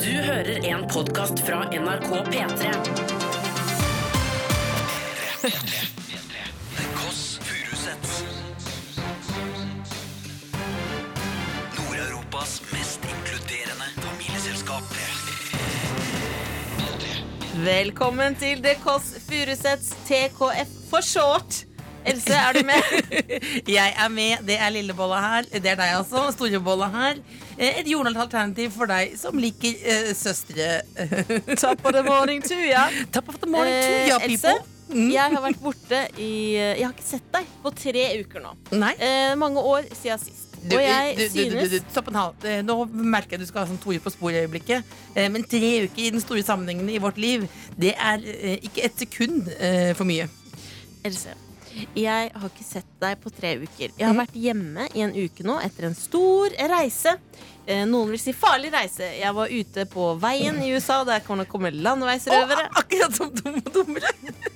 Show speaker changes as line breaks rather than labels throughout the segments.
Du hører en podkast fra NRK P3.
The Koss Furusets Nord-Europas mest inkluderende familieselskap
Velkommen til The Kåss Furuseths TKF for short. Else, er du med?
Jeg er med. Det er lillebolla her. Det er deg også. Storebolla her. Eh, Et jordnært alternativ for deg som liker eh, søstre.
Top of the morning to you.
Top of the morning to you,
Else,
Eh, people. Mm.
jeg har vært borte i eh, Jeg har ikke sett deg på tre uker nå.
Nei.
Eh, mange år siden sist.
Du,
Og jeg
du, du, du, du,
synes
du, stopp en hal. Eh, Nå merker jeg du skal ha sånn Tore på sporet-øyeblikket. Eh, Men tre uker i den store sammenhengen i vårt liv, det er eh, ikke et sekund eh, for mye.
Else, jeg har ikke sett deg på tre uker. Jeg har vært hjemme i en uke nå etter en stor reise. Eh, Noen vil si farlig reise. Jeg var ute på veien i USA. Der kan det komme landeveisrøvere.
Å, akkurat som dumme og dummere.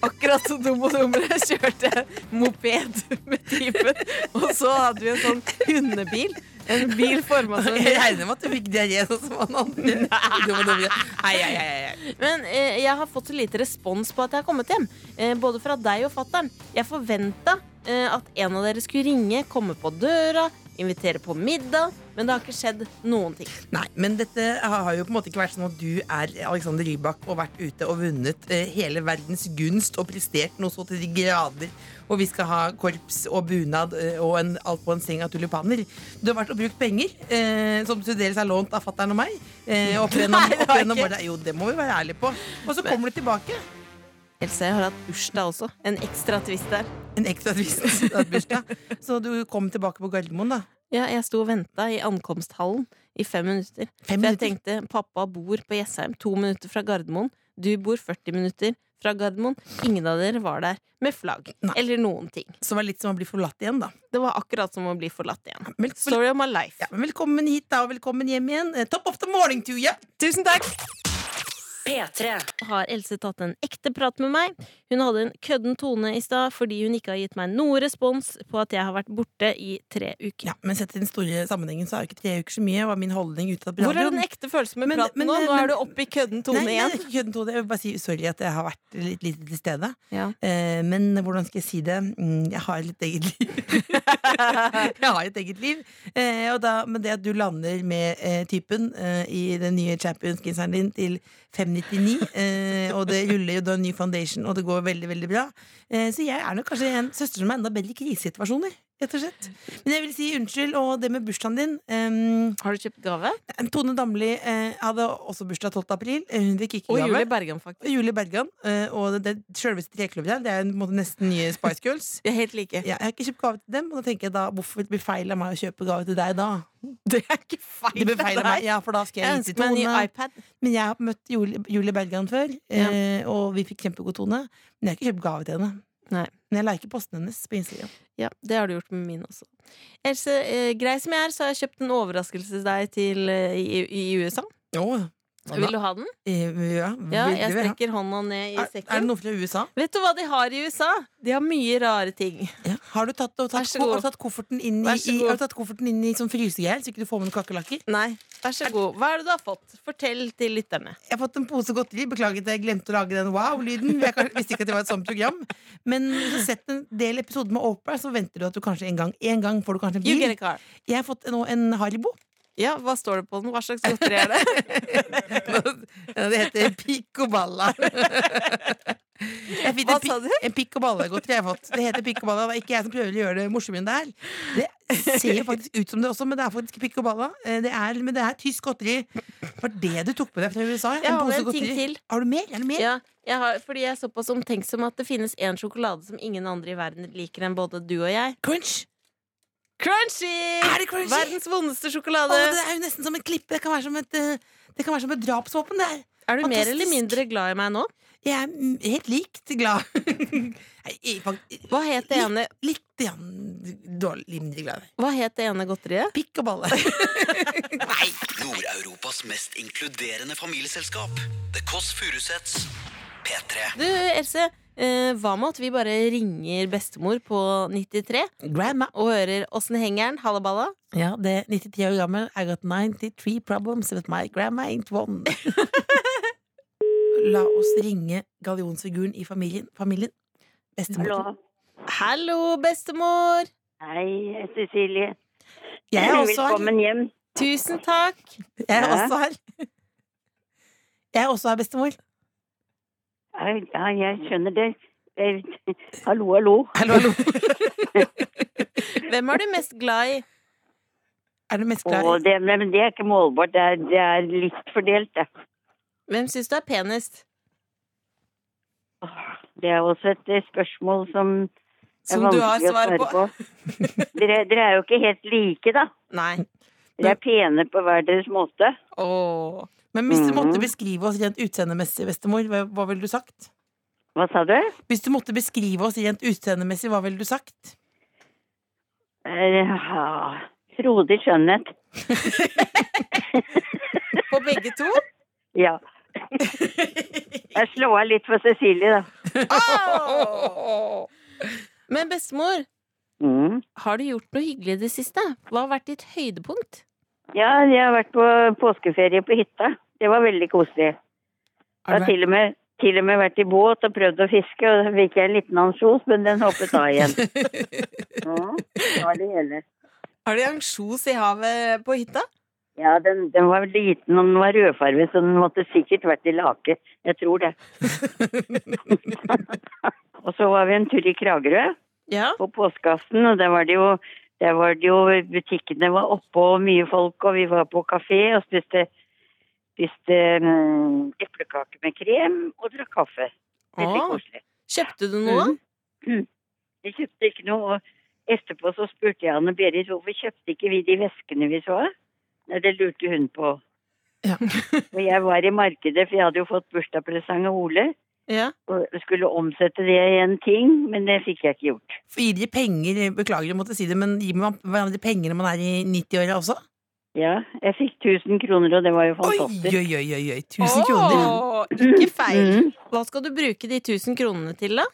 Akkurat som Dum og Dummere kjørte moped med typen. Og så hadde vi en sånn hundebil. En bil forma som
Jeg regner med at du fikk diaré sånn som han andre. Dumme og dummere. Hei, hei, hei, hei.
Men eh, jeg har fått så lite respons på at jeg har kommet hjem. Eh, både fra deg og fattern. Jeg forventa eh, at en av dere skulle ringe, komme på døra, invitere på middag. Men det har ikke skjedd noen ting.
Nei, men dette har jo på en måte ikke vært sånn at du er Alexander Rybak og vært ute og vunnet eh, hele verdens gunst og prestert noe så til de grader. Og vi skal ha korps og bunad eh, og en, alt på en seng av tulipaner. Du har vært og brukt penger, eh, som til dels er lånt av fattern og meg. Eh, opp gjennom,
Nei, det har
opp gjennom
jeg ikke.
årene. Jo, det må vi være ærlige på. Og så kommer du tilbake.
Else, jeg har hatt bursdag også. En ekstra twist der.
En ekstra twist. du har hatt bursdag. Så du kom tilbake på Gardermoen, da.
Ja, jeg sto og venta i ankomsthallen i fem minutter.
Fem
For jeg
minutter.
tenkte pappa bor på Jessheim, to minutter fra Gardermoen. Du bor 40 minutter fra Gardermoen. Ingen av dere var der med flagg
Nei.
eller noen ting.
Som er litt som å bli forlatt igjen, da.
Det var akkurat som å bli forlatt igjen.
Men-
Story of my life.
Ja, men velkommen hit da, og velkommen hjem igjen. Eh, Top of the morning to you!
Tusen takk!
P3.
Har Else tatt en ekte prat med meg? Hun hadde en kødden tone i stad fordi hun ikke har gitt meg noe respons på at jeg har vært borte i tre uker.
Ja, men sett i den store sammenhengen så er jo ikke tre uker så mye, var min holdning utad på
Hvor er
radioen.
den ekte følelsen med
Men-
praten
men-
nå? Nå
men-
er du oppe i kødden tone
Nei,
igjen.
Nei, ikke kødden tone. Jeg vil bare si sorry at jeg har vært litt lite til stede.
Ja.
Eh, men hvordan skal jeg si det? Mm, Jeg har litt eget liv. jeg har et eget liv. Eh, og da, men det at du lander med eh, typen eh, i den nye champions-genseren din til 599, eh, og det ruller jo da en ny foundation, og det går veldig, veldig bra, eh, så jeg er nok kanskje en søster som er enda bedre i krisesituasjoner. Rett og slett. Men jeg vil si unnskyld, og det med bursdagen din eh,
Har du kjøpt gave?
Tone Damli eh, hadde også bursdag 12. april. Eh, Hun fikk ikke
Og
gave.
Julie Bergan, faktisk.
Og Julie Bergan. eh, Og det, det selveste trekløveret her, det er jo på en måte nesten nye Spice Girls.
Vi er helt like.
Ja, jeg har ikke kjøpt gave til dem, og da tenker jeg da hvorfor blir feil av meg å kjøpe gave til deg da?
Det er ikke feil.
Det blir feil av meg, ja, for da skal
Jeg
jeg gi
ønsker
til
meg en ny
Tone.
iPad.
Men jeg har møtt Julie, Julie Bergan før, eh, og vi fikk kjempegod tone. Men jeg har ikke kjøpt gave til henne.
Nei.
Men jeg liker postene hennes på Instagram.
Ja, Det har du gjort med min også. Else, eh, grei som jeg er, så har jeg kjøpt en overraskelse til deg til, eh, i, i USA. Vil du ha den?
Eh, ja,
Ja,
vil
jeg
du, ja.
strekker hånda ned i
Er, er det
sekken.
noe fra USA?
Vet du hva de har i USA? De har mye rare ting.
Ja. Har du tatt, og
Vær
tatt,
så
ko-
god.
har du tatt kofferten inn i,
Vær så
i,
god.
har du tatt kofferten inn i sånn frysegreier, så ikke du får med noen kakerlakker?
Nei, vær så god. Hva er det du har fått? Fortell til lytterne.
Jeg har fått en pose godteri. Beklager at jeg glemte å lage den wow-lyden. Jeg kan- visste ikke at det var et sånt program. Men hvis du har sett en del episoder med Oprah, så venter du at du kanskje en gang, en gang får du kanskje en
You get
bil.
a car.
Jeg har fått nå en Haribo.
Ja, Hva står det på den? Hva slags godteri er det?
Det heter Pico Balla. Jeg fikk en
Hva sa
pi-
du?
En Pico Balla-godteri jeg har fått. Det heter Pico Balla. Det er ikke jeg som prøver å gjøre det morsommere enn det er. Det ser jo faktisk ut som det også, men det er faktisk ikke Pico Balla. Eh, Det er, men det er tysk godteri. Var det du tok med deg fra USA?
Jeg har
pose
en ting
godteri.
til.
Har du mer? Er det mer?
Ja, jeg har, fordi jeg er såpass omtenksom at det finnes én sjokolade som ingen andre i verden liker enn både du og jeg.
Crunch!
Crunchy!
Er det crunchy?
Verdens vondeste
Å,
sjokolade.
det er jo nesten som en klippe. Det kan være som et, eh, det kan være som et drapsvåpen. Det er.
Er du mer
Fantastisk.
eller mindre glad i meg nå?
Jeg er mm, helt likt glad. Nei, jeg er fakt-
Hva het det ene,
Litt grann dårlig, mindre glad.
hva het det ene godteriet?
Pikk og balle.
Nei, Nord-Europas mest inkluderende familieselskap The Koss Furusets P3.
Du, Else, eh, hva med at vi bare ringer bestemor på 93
Grandma.
og hører åssen hengeren? Hallaballa.
Ja, det er 93 år gammel. I got 93 problems with my grandma ain't one. La oss ringe gallionsfiguren i familien. Familien. Bestemor.
Hallo.
Hallo, bestemor!
Hei, Cecilie.
Jeg er også her.
Velkommen hjem.
Tusen takk.
Jeg er
Ja.
også her. Jeg er også her, bestemor.
Hei, Ja, jeg skjønner det. Eh, Hallo, hallo.
Hallo, hallo.
Hvem er du mest glad i?
Er du mest glad
Og
i
det, men det er ikke målbart. Det er, det er litt fordelt, det.
Hvem syns du er penest?
Det er også et eh, spørsmål som er
Som du har
vanskelig å
svar
svare
på?
på. Dere, dere er jo ikke helt like, da.
Nei.
Dere er pene på hver deres måte.
Åh.
Men hvis du måtte
Mhm.
beskrive oss rent utseendemessig, bestemor, hva, hva ville du sagt?
Hva sa du?
Hvis du måtte beskrive oss rent utseendemessig, hva ville du sagt?
Eh, ja, Frodig skjønnhet.
På begge to?
Ja. Jeg slår av litt for Cecilie, da.
Åh. Men bestemor,
Mm.
har du gjort noe hyggelig i det siste? Hva har vært ditt høydepunkt?
Ja, jeg har vært på påskeferie på hytta. Det var veldig koselig. Jeg
Er
har
du,
til og, med, til og med vært i båt og prøvd å fiske, og da fikk jeg en liten ansjos, men den hoppet av igjen. Ja, det var det hele.
Har du ansjos i havet på hytta?
Ja, den, den var liten, og den var rødfarget, så den måtte sikkert vært i lake. Jeg tror det. og så var vi en tur i Kragerø
Ja.
på påskeaften, og der var det jo der var det jo, Butikkene var oppe og mye folk, og vi var på kafé og spiste, spiste mm, eplekake med krem og drakk kaffe. Veldig
Åh.
koselig.
Kjøpte du noe?
Mhm.
Mm.
Mhm. Jeg kjøpte ikke noe, og etterpå så spurte jeg Anne Berit hvorfor kjøpte ikke vi de veskene vi så? Nei, det lurte hun på.
Ja.
og jeg var i markedet, for jeg hadde jo fått bursdagspresang av Ole,
Ja.
og skulle omsette det i en ting, men det fikk jeg ikke gjort.
gir de penger? Beklager, jeg måtte si det, men gir man hverandre penger når man er i 90-åra også?
Ja, jeg fikk 1000 kroner, og det var jo
Oi,
fantastisk.
oi, oi, oi, oi. 1000 kroner.
Åh, Ikke feil.
Mm,
Hva skal du bruke de 1000 kronene til, da?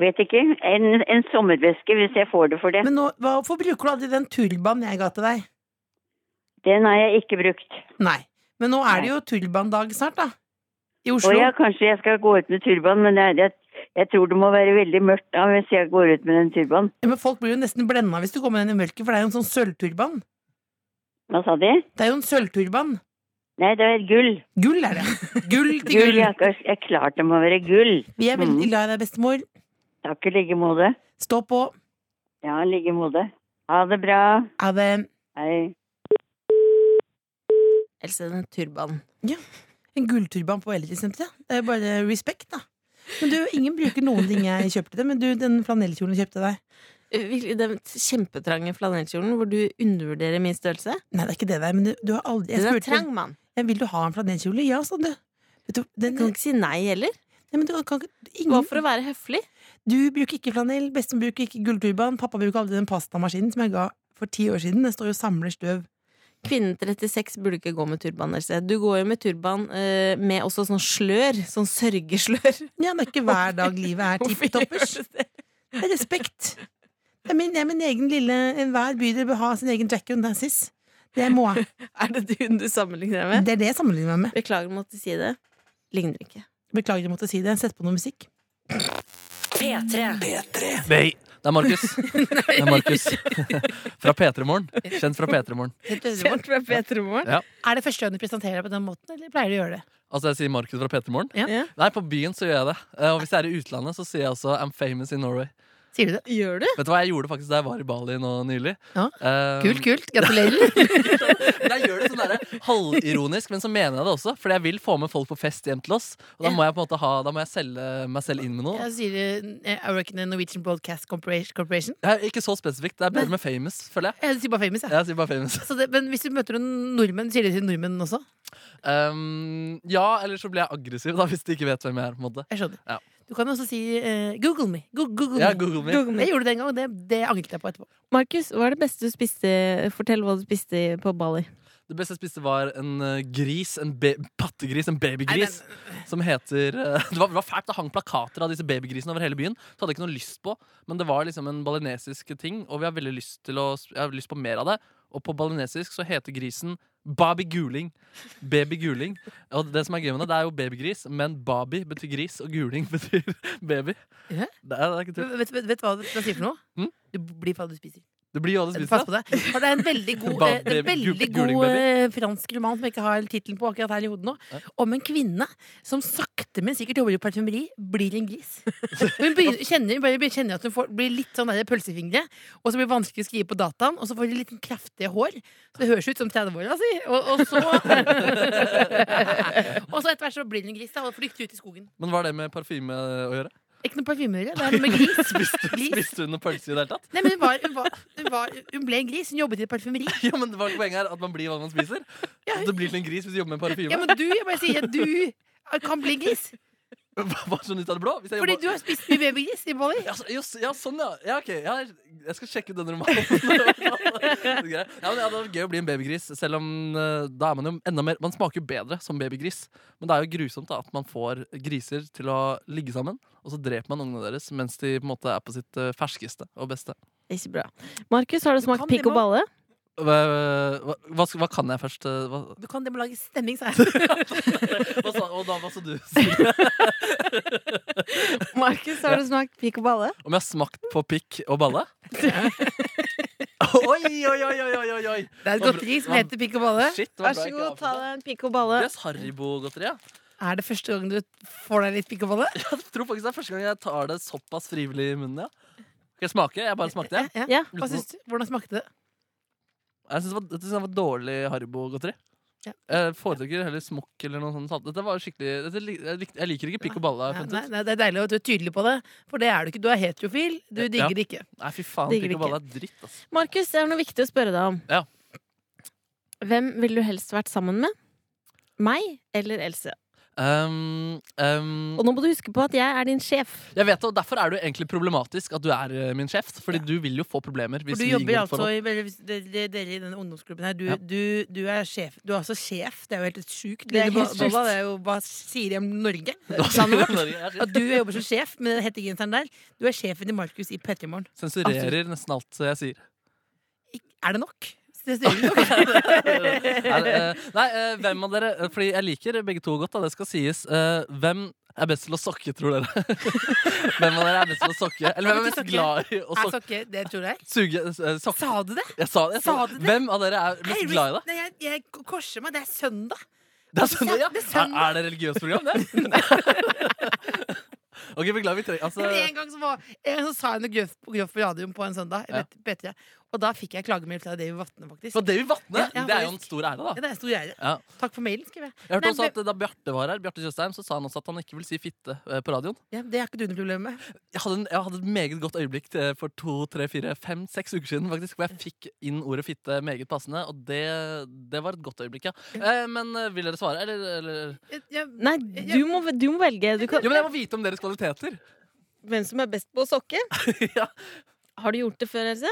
vet ikke. En, en sommerveske, hvis jeg får det for det.
Men nå, hva- hvorfor bruker du aldri den turbanen jeg ga til deg?
Den har jeg ikke brukt.
Nei. Men nå er det jo turbandag snart, da. I Oslo.
Og ja, kanskje jeg skal gå ut med turban, men jeg, jeg, jeg tror det må være veldig mørkt da hvis jeg går ut med den turban.
Ja, Men folk blir jo nesten blenda hvis du kommer inn i mørket, for det er jo en sånn sølvturban.
Hva sa de?
Det er jo en sølvturban.
Nei, det er gull.
Gull er det. Gull til
Gull,
gull.
ja. Mm. Det er klart det må være gull.
Vi er veldig glad i deg, bestemor.
Takk i like måte.
Stå på.
Ja, i like måte. Ha det bra.
Ha det.
Hei.
Else, den turbanen.
En gullturban på eldresenteret. Det er bare respekt, da. Men du, ingen bruker noen ting jeg kjøpte til deg, men du, den flanellkjolen jeg kjøpte deg
Eh, vil- Den kjempetrange flanellkjolen hvor du undervurderer min størrelse?
Nei, det er ikke det der, men du, du har aldri jeg
Den er
spurte,
trang, mann.
«Ja, Vil du ha en flanellkjole? Ja, sa du. Vet du, den,
Du kan ikke si nei heller.
nei, men du kan ikke
Det var
ingen,
for å være høflig.
Du bruker ikke flanell, bestemor bruker ikke gullturban, pappa bruker aldri den pastamaskinen som jeg ga for ti år siden. Den står jo og samler støv.
Kvinnen 36 burde ikke gå med turban. Else. Du går jo med turban eh, med også sånn slør. Sånn sørgeslør.
Ja, det er ikke hver dag livet er
Hvorfor
tipp
gjør
toppers.
du det?
Det er respekt. Det er min, det er min egen lille Enhver bydel bør ha sin egen Jack and Dances. Det må jeg.
Er det hun du sammenligner deg med?
Det er det jeg sammenligner meg med.
Beklager å måtte si det. Ligner ikke.
Beklager jeg måtte si det. Sett på noe musikk.
P3.
P3.
Nei, det er Markus. Det er Markus. fra P3 Morgen. Kjent fra P3 Morgen.
Er
med Peter Moren.
det første gang du presenterer deg på den måten, eller pleier du å gjøre det?
Altså, jeg sier Markus fra P3 Morgen.
Ja.
Ja.
Nei, på byen så gjør jeg det. Eh, Og hvis jeg er i utlandet, så sier jeg også I'm famous in Norway.
Sier du det?
Gjør du?
Vet du hva jeg gjorde faktisk da jeg var i Bali nå nylig?
Ja.
Eh,
Kult, kult. Gratulerer.
Jeg gjør det sånn derre halvironisk, men så mener jeg det også. Fordi jeg vil få med folk på fest hjem til oss. Og da må jeg på en måte ha Da må jeg selge meg selv inn med noe.
Jeg sier eh, I work in the Norwegian Broadcast Corporation. Corporation.
Jeg er ikke så spesifikt. Det er bedre med famous, føler jeg.
Jeg sier bare famous, jeg.
Jeg sier bare famous.
Så det, men hvis du møter en nordmenn, sier de til nordmenn også?
Um, ja, eller så blir jeg aggressiv da hvis de ikke vet hvem jeg er. på en måte
Jeg skjønner.
Ja.
Du kan også si eh, Google me. Go Google
Ja,
me.
Google me.
Google me.
Jeg gjorde det en gang, og det, det angret jeg på etterpå.
Markus, hva er det beste du spiste? Fortell hva du spiste på Bali.
Det beste jeg spiste, var en eh, gris, en be pattegris, en babygris, som heter eh, det, var, det var fælt. Det hang plakater av disse babygrisene over hele byen. Så hadde jeg ikke noe lyst på, men det var liksom en balinesisk ting, og vi har veldig lyst til å Jeg har lyst på mer av det. Og på balinesisk så heter grisen Babi Guling. Baby Guling. Og det som er gøy med det, det er jo babygris, men Babi betyr gris, og Guling betyr baby.
Hæ?
Det er, det er ikke tull.
Vet, vet, vet du hva det sier for noe?
Mm?
Du blir hva du spiser.
Det blir jo alle spist
Pass på det. For det er en veldig god, eh, det er en
Baby-
veldig god
gul- guling,
eh, fransk roman som jeg ikke har tittelen på akkurat her i hodet nå, om en kvinne som sakte, men sikkert jobber i parfymeri, blir en gris. Hun begynner, kjenner, hun bare kjenner at hun får, blir litt sånn der pølsefingre, og så blir det vanskelig å skrive på dataen, og så får hun litt kraftige hår. Så det høres ut som 30-åra si. Og, og så Og så etter hvert så blir hun en gris da, og flykter ut i skogen.
Men hva har det med parfyme å gjøre?
Ikke noe parfyme å gjøre, det er noe med gris.
Spiste,
gris.
spiste hun noe pølse i det hele tatt?
Nei, men hun, var, hun, var, hun, var, hun ble en gris. Hun jobbet i et parfymeri.
Ja, men det var Poenget er at man blir hva man spiser.
Ja.
At Du blir til en gris hvis du jobber med parfyme.
Ja, men du, jeg bare sier, du kan bli gris.
Hva- hva er sånn ut av det blå? Hvis jeg
Fordi
jobber-
du har spist mye babygris i Bali.
ja, så- jo, s- ja, sånn, ja. ja ok, ja, jeg skal sjekke ut den romanen. Det er greit. ja, men ja, det er gøy å bli en babygris, selv om eh, da er man jo enda mer Man smaker jo bedre som babygris, men det er jo grusomt da, at man får griser til å ligge sammen, og så dreper man ungene deres mens de på en måte er på sitt eh, ferskeste og beste.
Ikke bra. Markus, har du smakt
kan
pikk
det
og balle?
Hva, hva, hva, skal- hva kan jeg først? eh, Hva,
Du kan det med å lage stemning, sa jeg.
hva sa, og da, hva sa du?
Markus, har du smakt pikk og balle?
Om jeg har smakt på pikk og balle? oi, oi, oi, oi, oi, oi, oi!
Det er et godteri som heter pikk og balle.
Shit, det var
Vær
bra
så
jeg ikke
god, ta
avsluttet.
deg en pikk og balle.
Det er Haribo-godteri, ja.
Er det første gang du får deg litt pikk og balle?
Jeg tror faktisk det er første gang jeg tar det såpass frivillig i munnen, ja. Skal jeg smake? Jeg bare smakte, jeg.
Ja.
Hva syns du? Hvordan smakte det?
Jeg syns det, var- jeg synes det var dårlig Haribo-godteri.
Ja.
Jeg foretrekker heller smokk eller noe sånt. salt. Dette var skikkelig dette, lik- jeg, likte- jeg liker ikke pikk og balle. har
Ja,
jeg funnet
nei,
ut.
nei, det er deilig at du er tydelig på det, for det er du ikke. Du er heterofil. Du
Ja.
digger det ikke.
Nei, fy faen,
Digger
pikk og
ikke.
balle er dritt, ass.
Markus, det er noe viktig å spørre deg om.
Ja.
Hvem ville du helst vært sammen med? Meg eller Else?
Um, um,
Og nå må du huske på at jeg er din sjef.
jeg vet, det, og Derfor er det jo egentlig problematisk at du er eh, min sjef. Fordi du vil jo få problemer. Hvis
For du
vi
jobber
inngår
altså
forhold.
i eller hvis dere dere i denne ungdomsklubben her. Du,
Ja.
du, du er sjef. Du er altså sjef. Det er jo helt sjukt.
Det er
Lille
helt
Bo- Bolla,
sjukt.
Det er jo hva sier de om Norge? Landet vårt.
Jeg
At du jobber som sjef med den hettegenseren der. Du er sjefen til Markus i P3 Morgen.
Sensurerer nesten alt jeg sier.
Er det nok? Det sier du nok.
Nei, eh, nei, eh, hvem av dere Fordi jeg liker begge to godt, da, det skal sies. Eh, Hvem er best til å sokke, tror dere? hvem av dere er best til å sokke? Eller hvem er mest
Sokke.
glad i å
Er
sokke?
sokke, det tror jeg.
Suge eh, sokke.
Sa du det?
Jeg sa det. Jeg sa
Sa
det.
du det?
Hvem av dere er
Nei,
mest glad i det?
Nei, jeg, jeg k- korser meg. Det er søndag.
Det er søndag, ja.
Det er
Er,
søndag.
er det religiøst program, det? ok, beklager. Vi trenger altså,
Men en gang så, var, en gang så sa jeg noe grøft på, grøft på radioen på en søndag.
Ja.
Eller P3 Og da fikk jeg klagemelding fra Davy Vatne, faktisk.
For Davy Vatne,
Ja, ja,
det er jo en
faktisk.
stor ære,
Ja,
da.
det er stor greie.
Ja.
Takk for mailen, skrev jeg.
Jeg hørte
Nei,
også
men-
at eh, Da Bjarte var her, Bjarte Tjøstheim, så sa han også at han ikke vil si fitte eh, på radioen.
Ja, det er ikke du noe problem med.
jeg hadde, en, jeg hadde et meget godt øyeblikk til- for to, tre, fire, fem, seks uker siden faktisk, hvor jeg fikk inn ordet fitte meget passende, og det, det var et godt øyeblikk, ja. Eh, men eh, vil dere svare, eller? eller?
Jeg, jeg,
Nei, du må, du må velge. Du kan,
Jo, men jeg må vite om deres kvaliteter.
Hvem som er best på å sokke?
ja.
Har du gjort det før, Else?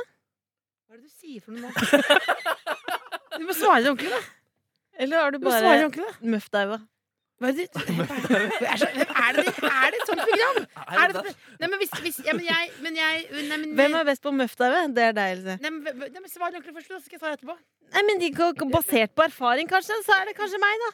hva er det du sier for noe nå? Du må svare ordentlig, da.
Eller har du
Du må svare
bare
ordentlig, da.
møff deg, hva?
Hva er det, er, så, er, det, er det et sånt program? Er det, nei, men hvis, hvis ja, men jeg, men jeg nei, men,
Hvem er best på møff deg, hva? Det er deg, Else.
Nei, men, nei, men Svar ordentlig først, så skal jeg svare etterpå.
Nei, men de, kan- Basert på erfaring, kanskje, så er det kanskje meg, da.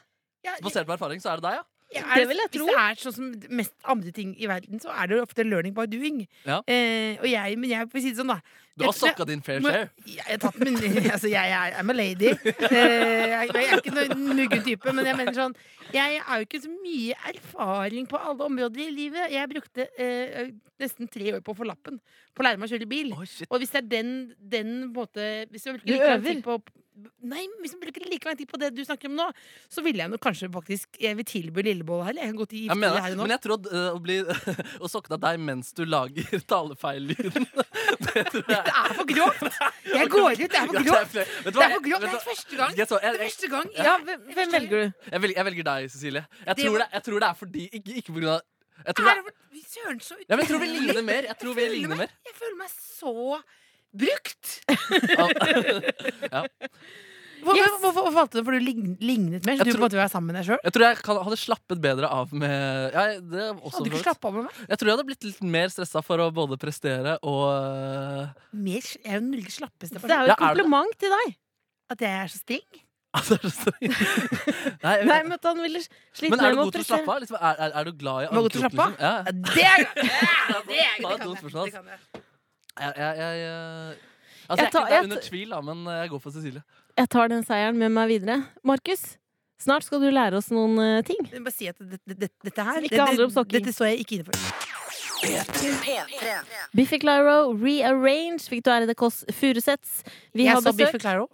Ja,
Basert på erfaring, så er det deg, ja.
ja,
det vil jeg tro.
Hvis det er sånn som mest andre ting i verden, så er det jo ofte learning by doing.
Ja.
Eh, og jeg, men jeg, for å si det sånn, da.
Du har
Jeg tror jeg-
sokka din fair
må-
share.
Jeg, jeg, har tatt min, altså, jeg, er- I'm a lady. Eh, jeg, jeg er ikke noen muggen type, men jeg mener sånn Jeg har jo ikke så mye erfaring på alle områder i livet. Jeg brukte eh, nesten tre år på å få lappen på å lære meg å kjøre bil.
Å, shit.
Og hvis det er den, den måte hvis jeg bruker
Du
like lang
øver.
tid På, nei, men hvis jeg bruker like lang tid på det du snakker om nå, så ville jeg nok kanskje faktisk Jeg vil tilby lillebolla her. eller Jeg kan gå til
Jeg
gifte meg
mener,
her
det,
og nå.
men jeg tror at, eh, å bli Å sokke deg deg mens du lager talefeil-lyden Det tror jeg
Det er for grovt! Jeg går ut, det er
Ja,
for
det er
grovt!
flere- Vet du
Det er
hva?
for
jeg-
grovt,
vet
det
du
er
hva?
første gang.
Skal jeg svare?
Det
Jeg-
er første gang.
Ja.
Ja, hvem, hvem velger du?
Jeg velger, jeg velger deg, Cecilie. Jeg
Det
tror
var-
det, jeg tror det er fordi Ikke, ikke på grunn av jeg tror det
Er
er,
det for- Fy Søren, så
ja, men jeg tror vi ligner mer. Jeg tror vi
utrolig
ligner mer.
meg- Jeg føler meg så brukt!
Ja.
Hvor-
Yes.
hvor- hvor- Hvorfor Hvorfor valgte du det? For du lign- lignet mer, så
Jeg
du
tror-
måtte være sammen med deg sjøl?
Jeg tror jeg kan, hadde slappet bedre av med ja, det er
Hadde du
også for
ikke
så vidt.
slappet av med meg?
Jeg tror jeg hadde blitt litt mer stressa for å både prestere og eh,
Mer, s- jeg er jo den Norges slappeste
Det er jo
personen.
Ja, er
et
det?
kompliment til deg.
At jeg er så streng?
altså, det er så- Nei, jeg-
Nei, men at han ville slitt
men er
mer
du
med å
god til å slappe
prestere.
av? Liksom, er, er, er du glad i
Var god til å
ankrok,
slappe av?
liksom? Ja, ja.
Ja, Det er det
Det var et dumt spørsmål, ass. Jeg, jeg, jeg, jeg, altså, jeg,
Jeg tar-
er ikke- det
jeg
er under
tar-
tvil, da, men jeg går for Cecilie.
Jeg tar den seieren med meg videre. Markus, snart skal du lære oss noen eh, ting.
Jeg må Bare si at det, det, det, dette her
Som ikke
det- det-
handler om sokker.
Dette så jeg ikke inne for.
Biffy Clyro, Rearrange, fikk du ære det Kåss Furuseths. Vi har
Jeg så
besøk.
Biffy Claro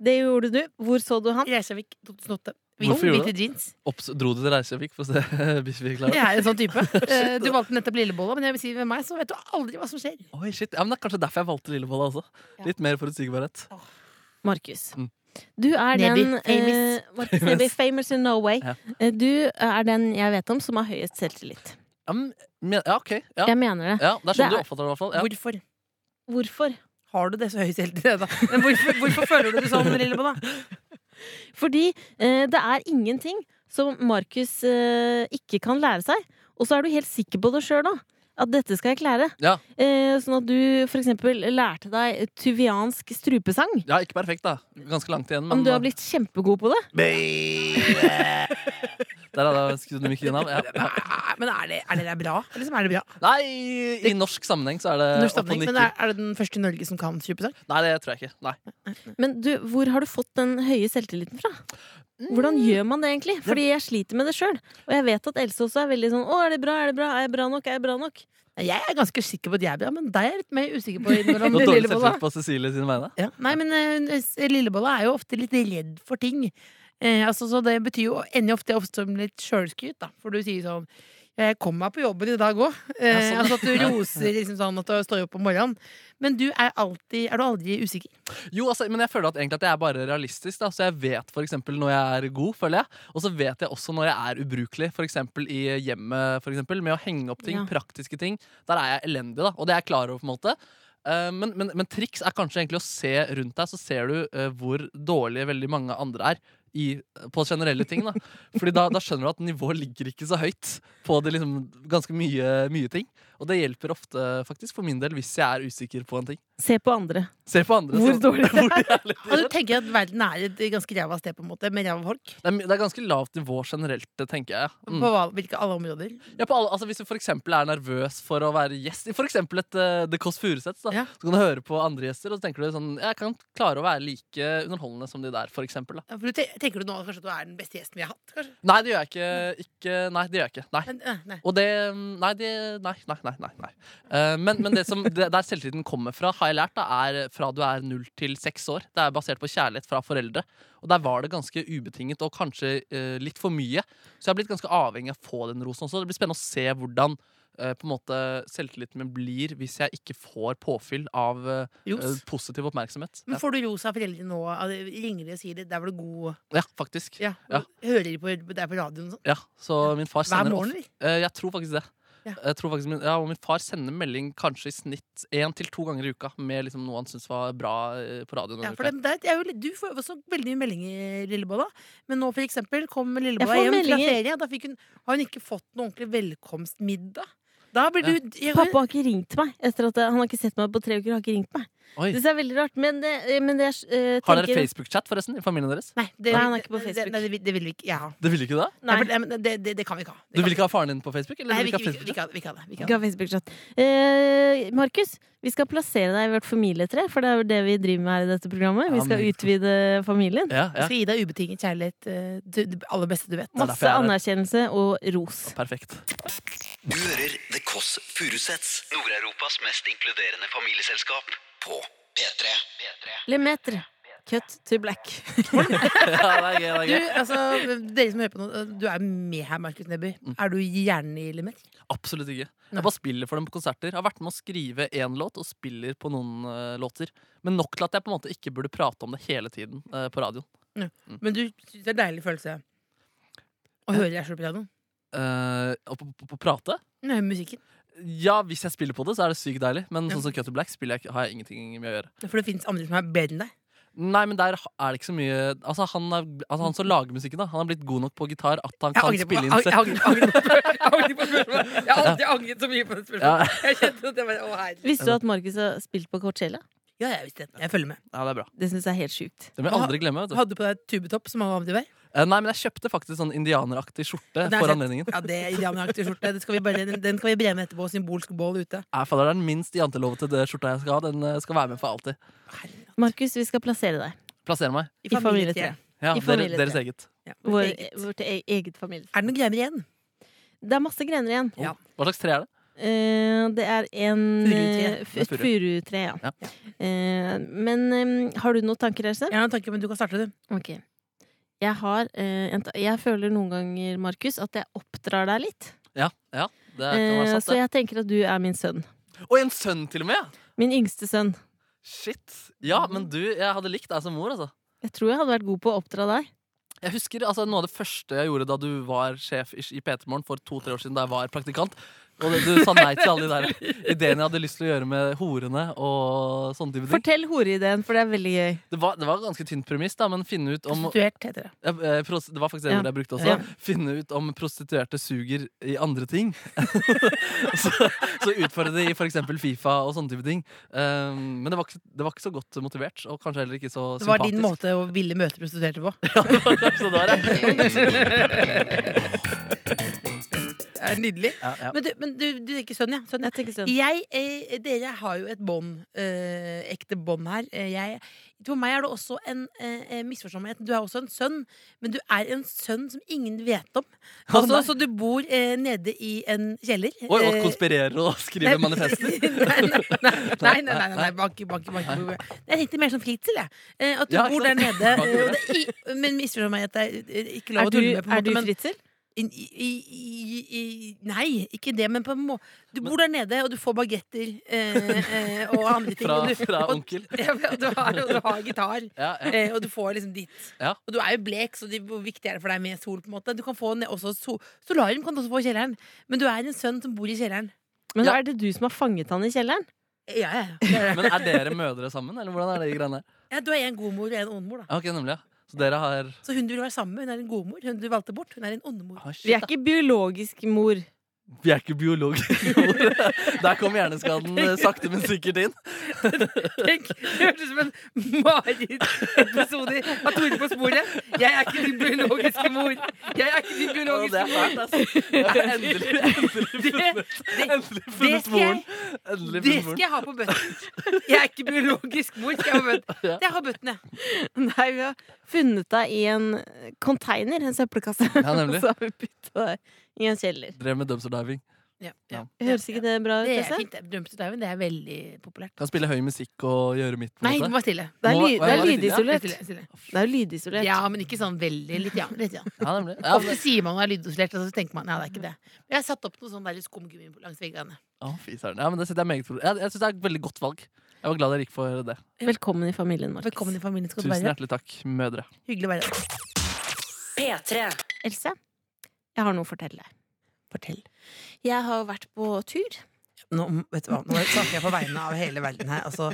Det gjorde du. Hvor så du han?
i Reykjavik 2008.
Hvorfor gjorde du
Hvite jeans.
Opps, dro du til Reykjavik for å se Biffy Clara?
Jeg er en sånn type. Eh, Du valgte nettopp Lillebolla, men jeg vil si ved meg så vet du aldri hva som skjer.
Oi, shit. Ja, men det er kanskje derfor jeg valgte Lillebolla. Altså.
Ja.
Litt mer forutsigbarhet.
Markus.
Mm.
Du er
Neby,
den
famous.
eh, Markus Neby, famous in Norway.
Ja.
Eh, Du er den jeg vet om som har høyest selvtillit.
Ja, men, men- ja ok. Ja.
Jeg mener det.
Ja, det er sånn
Det
du
er-
oppfatter det, i hvert fall. Ja.
Hvorfor?
Hvorfor?
Har du det så høy selvtillit, da? Men hvorfor, hvorfor føler du det sånn, Lillebolla?
Fordi eh, det er ingenting som Markus eh, ikke kan lære seg. Og så er du helt sikker på det sjøl, da. At dette skal jeg klare.
Ja.
Eh, sånn at du for eksempel lærte deg tuviansk strupesang.
ja, ikke perfekt, da. Ganske langt igjen.
Om
Men
du har blitt kjempegod på det.
der hadde jeg skrudd mykken av. Ja. Ja.
Nei, Men er det, er det der bra? Eller som er det bra?
Nei, i norsk sammenheng så er det
Norsk
opp og
sammenheng,
nikker.
men er, er det den første i Norge som kan strupesang?
Nei, det tror jeg ikke. Nei.
Men du, hvor har du fått den høye selvtilliten fra? Hvordan
Mm.
gjør man det egentlig? Fordi jeg sliter med det sjøl. Og jeg vet at Else også er veldig sånn 'Å, er det bra? Er det bra? Er jeg bra nok? Er jeg bra nok?'
Jeg er ganske sikker på at jeg er bra, men deg er jeg litt mer usikker på.
Nå
innimellom,
dårlig
Lillebolla.
selvtillit på Cecilie sine vegne.
Ja. Nei, men eh, s- Lillebolla er jo ofte litt redd for ting. Eh, altså, så det betyr jo ender jo ofte ofte som litt sjølskryt, da. For du sier sånn jeg kom meg på jobben i dag òg. Eh,
Ja, sånn.
altså at du roser liksom sånn at du står opp om morgenen. Men du er alltid Er du aldri usikker?
Jo, altså, men jeg føler at egentlig at jeg er bare realistisk. Da. Så jeg vet for eksempel når jeg er god, føler jeg. Og så vet jeg også når jeg er ubrukelig, f.eks. i hjemmet. For eksempel, med å henge opp ting,
Ja.
praktiske ting. Der er jeg elendig, da. Og det er jeg klar over. på en måte Eh, men, men, men triks er kanskje egentlig å se rundt deg, så ser du eh, hvor dårlige veldig mange andre er. I, på generelle ting. Da Fordi da, da skjønner du at nivået ligger ikke så høyt på det liksom ganske mye, mye ting. Og det hjelper ofte, faktisk, for min del, hvis jeg er usikker på en ting.
Se på andre.
Se på andre.
Hvor
så-
dårlig
hvor de er litt-
Og du tenker at verden er et ganske ræva sted, på en måte, med ræva folk?
Det er, det er ganske lavt nivå generelt, det tenker jeg. Mm.
På hva, hvilke alle områder?
Ja, på alle, altså, hvis du for eksempel er nervøs for å være gjest i for eksempel et eh, The Kåss Furuseths, da,
Ja.
så kan du høre på andre gjester, og så tenker du sånn Jeg kan klare å være like underholdende som de der, for eksempel. Da.
Ja, For du te tenker du nå kanskje at du er den beste gjesten vi har hatt? Kanskje?
Nei, det gjør jeg ikke. ikke nei, det gjør jeg ikke. øh, Nei.
Men, eh, nei.
Og det Nei, det, nei, nei, nei. nei, nei. Eh, men men det som, det, der selvtilliten kommer fra, har jeg lært, da, er fra du er null til seks år. Det er basert på kjærlighet fra foreldre. Og der var det ganske ubetinget og kanskje eh, litt for mye. Så jeg har blitt ganske avhengig av å få den rosen også. Det blir spennende å se hvordan eh, på en måte selvtilliten min blir hvis jeg ikke får påfyll av eh,
Ros.
positiv oppmerksomhet.
Men
Ja,
får du ros av foreldrene nå? av- Ringer de og sier det? Der var du god.
ja faktisk.
Ja.
Ja.
Hører de på deg på radioen og sånn?
Ja, så min far
Hver
sender
morgen, eller?
Eh, Jeg tror faktisk det.
Ja.
Jeg tror faktisk min, ja, og min far sender melding kanskje i snitt én til to ganger i uka med liksom noe han syns var bra eh, på radioen.
Ja,
denne
for
uka.
det, det er jo, litt- du får jo også veldig mye meldinger, Lillebolla. Men nå for eksempel kom
Jeg
Lillebolla
får
hjem fra
meldinger.
ferie. Da fikk hun, har hun ikke fått noen ordentlig velkomstmiddag. Da blir
Ja.
du jeg,
Pappa har ikke ringt meg. Etter at jeg, han har ikke sett meg på tre uker. Har ikke ringt meg
Oi.
Det synes jeg er veldig rart. Men det, men det jeg eh,
Har dere
tenker-
Facebook-chat forresten i familien deres?
Nei, det,
Nei, han er ikke på
det-
Facebook.
Det, det, det vil vi ikke jeg ha.
Det ville ikke du da?
Nei.
Ja, for det, men det, det, det kan vi ikke ha. Det
Du
kan
vil ikke ha faren din på Facebook? Eller
Nei,
du
vi,
vil
vi, vi,
ikke ha
vi,
Facebook-chat?
kan, vi kan det. Vi kan.
Ikke
det.
ha Facebook-chat. Eh, Markus, vi skal plassere deg i vårt familietre, for det er jo det vi driver med her i dette programmet. Vi
Ja,
skal
men-
utvide familien.
Ja,
Jeg
ja.
skal gi deg ubetinget kjærlighet. eh, du- Det aller beste du vet.
er derfor
Masse
jeg er her.
anerkjennelse og ros.
Perfekt.
Du hører The Kåss Furuseths, Nord-Europas mest inkluderende familieselskap, på P3.
Lemeter. Cut to black.
Ja, det er gøy, det er
Du,
gøy.
altså, dere som hører på nå, du er med her, Markus Neby. Er du hjernen i Limet?
Absolutt ikke. Jeg bare spiller for dem på konserter. Jeg har vært med å skrive én låt og spiller på noen eh, låter. Men nok til at jeg på en måte ikke burde prate om det hele tiden eh, på radioen.
Men du syns det er en deilig følelse å høre deg sjøl på radioen?
Eh, og på, på, på prate?
Nå hører musikken.
Ja, hvis jeg spiller på det, så er det sykt deilig. Men
Ja.
sånn som Cut to Black spiller jeg, ikke- har jeg ingenting med å gjøre.
For det fins andre som er bedre enn deg.
Nei, men der er det ikke så mye Altså, han, er, altså, han som lager musikken, da. Han har blitt god nok på gitar at
Jeg
han kan
angrer på
spille
jeg
inn
angrer- jeg
selv.
angrer- jeg angrer på spørsmålet. Jeg har aldri angret så mye på det
Ja.
spørsmålet. Jeg kjente at det var, å, herregud.
Visste du at Markus har spilt på Coachella?
ja, jeg visste det. Jeg følger med.
Ja, det er bra.
Det syns jeg er helt sjukt.
Det må jeg aldri glemme. vet du
Hadde du på deg tubetopp som var vanlig vei?
Eh, Nei, men jeg kjøpte faktisk sånn indianeraktig skjorte
Den er
for
fett.
anledningen.
Ja, det er indianeraktig skjorte. Det skal vi bare, den, den kan vi brenne etterpå. Symbolsk bål ute.
Nei, fader, det er den minst jantelovete det skjorta jeg skal ha. Den eh, skal være med for alltid.
Markus, vi skal plassere deg
Plassere meg.
i familietre.
familietre.
Ja,
I
dere,
familietre.
deres eget.
Ja.
Vår,
Eget.
vårt e eget familie.
Er det noen greier igjen?
Det er masse grener igjen.
Oh,
Ja.
Hva slags tre er det?
Eh, det er en
Furutre.
eh, fu- Et
Det er furu.
furutre, ja.
Ja.
Eh, men eh, har du noen tanker, Else?
Jeg har en tanke, men du kan starte, du.
Ok. Jeg har eh, en ta Jeg føler noen ganger, Markus, at jeg oppdrar deg litt.
Ja, ja det kan
Eh,
være sant,
så
det.
jeg tenker at du er min sønn.
Og en sønn til og med! ja.
Min yngste sønn.
Shit. Ja, men du, jeg hadde likt deg som mor, altså.
Jeg tror jeg hadde vært god på å oppdra deg.
Jeg husker altså, Noe av det første jeg gjorde da du var sjef i i P3 Morgen for to-tre år siden, da jeg var praktikant. Og det, du sa nei til alle de der ideene jeg hadde lyst til å gjøre med horene og sånne type ting.
Fortell horeideen, for det er veldig gøy.
Det var, det var ganske tynn premiss, da, men finne ut om
Prostituert heter det.
Ja, eh, pros- Det var faktisk det
Ja.
ordet jeg brukte også.
Ja.
Finne ut om prostituerte suger i andre ting. så, så utfordre de i f.eks. Fifa og sånne type ting. Um, men det var, ikke, det var ikke så godt motivert, og kanskje heller ikke så
Det var
sympatisk.
din måte å ville møte prostituerte på.
Ja, det var kanskje det var, ja.
Det er nydelig.
Ja, ja.
Men du, men du, du tenker sønn, ja. Sønn, ja.
Jeg tenker sånn.
Jeg, eh, dere har jo et bånd, eh, ekte bånd her. Eh, jeg, for meg er det også en eh, misforståelighet. Du er også en sønn, men du er en sønn som ingen vet om.
Å,
Altså,
nei.
så du bor eh, nede i en kjeller.
Oi, og
Eh,
konspirerer og skriver
nei,
manifester.
nei, nei, nei, nei, nei, nei, nei, banke, banke, banke. banke. Jeg tenkte mer som Fritzel, jeg. Eh, At du
Ja, ikke
bor der
sant?
nede.
Banke,
eh, Og det, er i, men misforstå meg at det er eh, ikke
Er
lov å
du,
tulle med, på
er du
en måte. Men,
fritzel?
i, i, i, i, nei, ikke det, men på en måte Du bor der nede, og du får bagetter eh, eh, og andre ting.
Fra,
og du,
fra
og-
onkel.
Ja, og du har, og du har gitar.
Ja, ja.
Eh, og du får liksom ditt.
Ja.
Og du er jo blek, så det, hvor viktig er det for deg med sol? på en måte Du kan få ne- også sol, Solarium kan du også få i kjelleren, men du er en sønn som bor i kjelleren.
Men
Ja.
er det du som har fanget han i kjelleren?
Ja, ja, ja. Det er det.
Men er dere mødre sammen, eller hvordan er det i greiene der?
Ja, du er en god mor og en ond mor, da.
Ja, Ok, nemlig, ja. Så dere har
Så hun du vil være sammen med, hun er en god mor. Hun du valgte bort, hun er en ond mor.
ah,
Vi
shit,
er ikke biologisk mor.
da. Vi er ikke biologiske mor. Der kom hjerneskaden eh, sakte, men sikkert inn.
Tenk, Det hørtes ut som en Marit-episode av Tore på sporet. Jeg er ikke din biologiske mor. Jeg er ikke din
Å, det
biologiske
er
mor.
fælt, altså. Endelig, endelig
Det-
funnet, endelig
det
funnet
skal
moren.
jeg-
Endelig
Det
funnet
skal
moren.
jeg ha på bøtten. Jeg er ikke biologisk mor. Skal jeg ha på bøtten? Jeg har bøtten, jeg.
Nei, vi har funnet deg i en container, en søppelkasse.
Ja, nemlig.
Så har vi putta deg i en kjeller.
Drev med dumpster diving.
Ja,
ja.
Høres ikke det bra ut?
Det er
Else?
fint. Dumpsterdauen, det er veldig populært.
Kan spille høy musikk og gjøre mitt. på en
Nei,
måte.
vær stille.
Det er,
Må-
ly, det er
Hva- hva-
lydisolert.
Stille, stille.
Det er jo lydisolert.
Ja, men ikke sånn veldig. Litt, ja. Litt, ja.
Ja, nemlig. Ja,
Ofte
men,
sier man man er lydisolert, og så tenker man ja, det er ikke det. Men jeg har satt opp noe sånn der litt skumgummi langs veggene.
Å, fy søren. ja, men det setter jeg meget pris på. Jeg, jeg syns det er et veldig godt valg. Jeg var glad dere gikk for det.
Velkommen i familien, Markus.
Velkommen i familien. Skal du
Tusen
være
hjertelig takk, mødre.
Hyggelig å være her.
P3.
Else, jeg har noe å fortelle deg.
Fortell.
Jeg har vært på tur.
Nå, vet du hva, nå snakker jeg på vegne av hele verden her. Altså,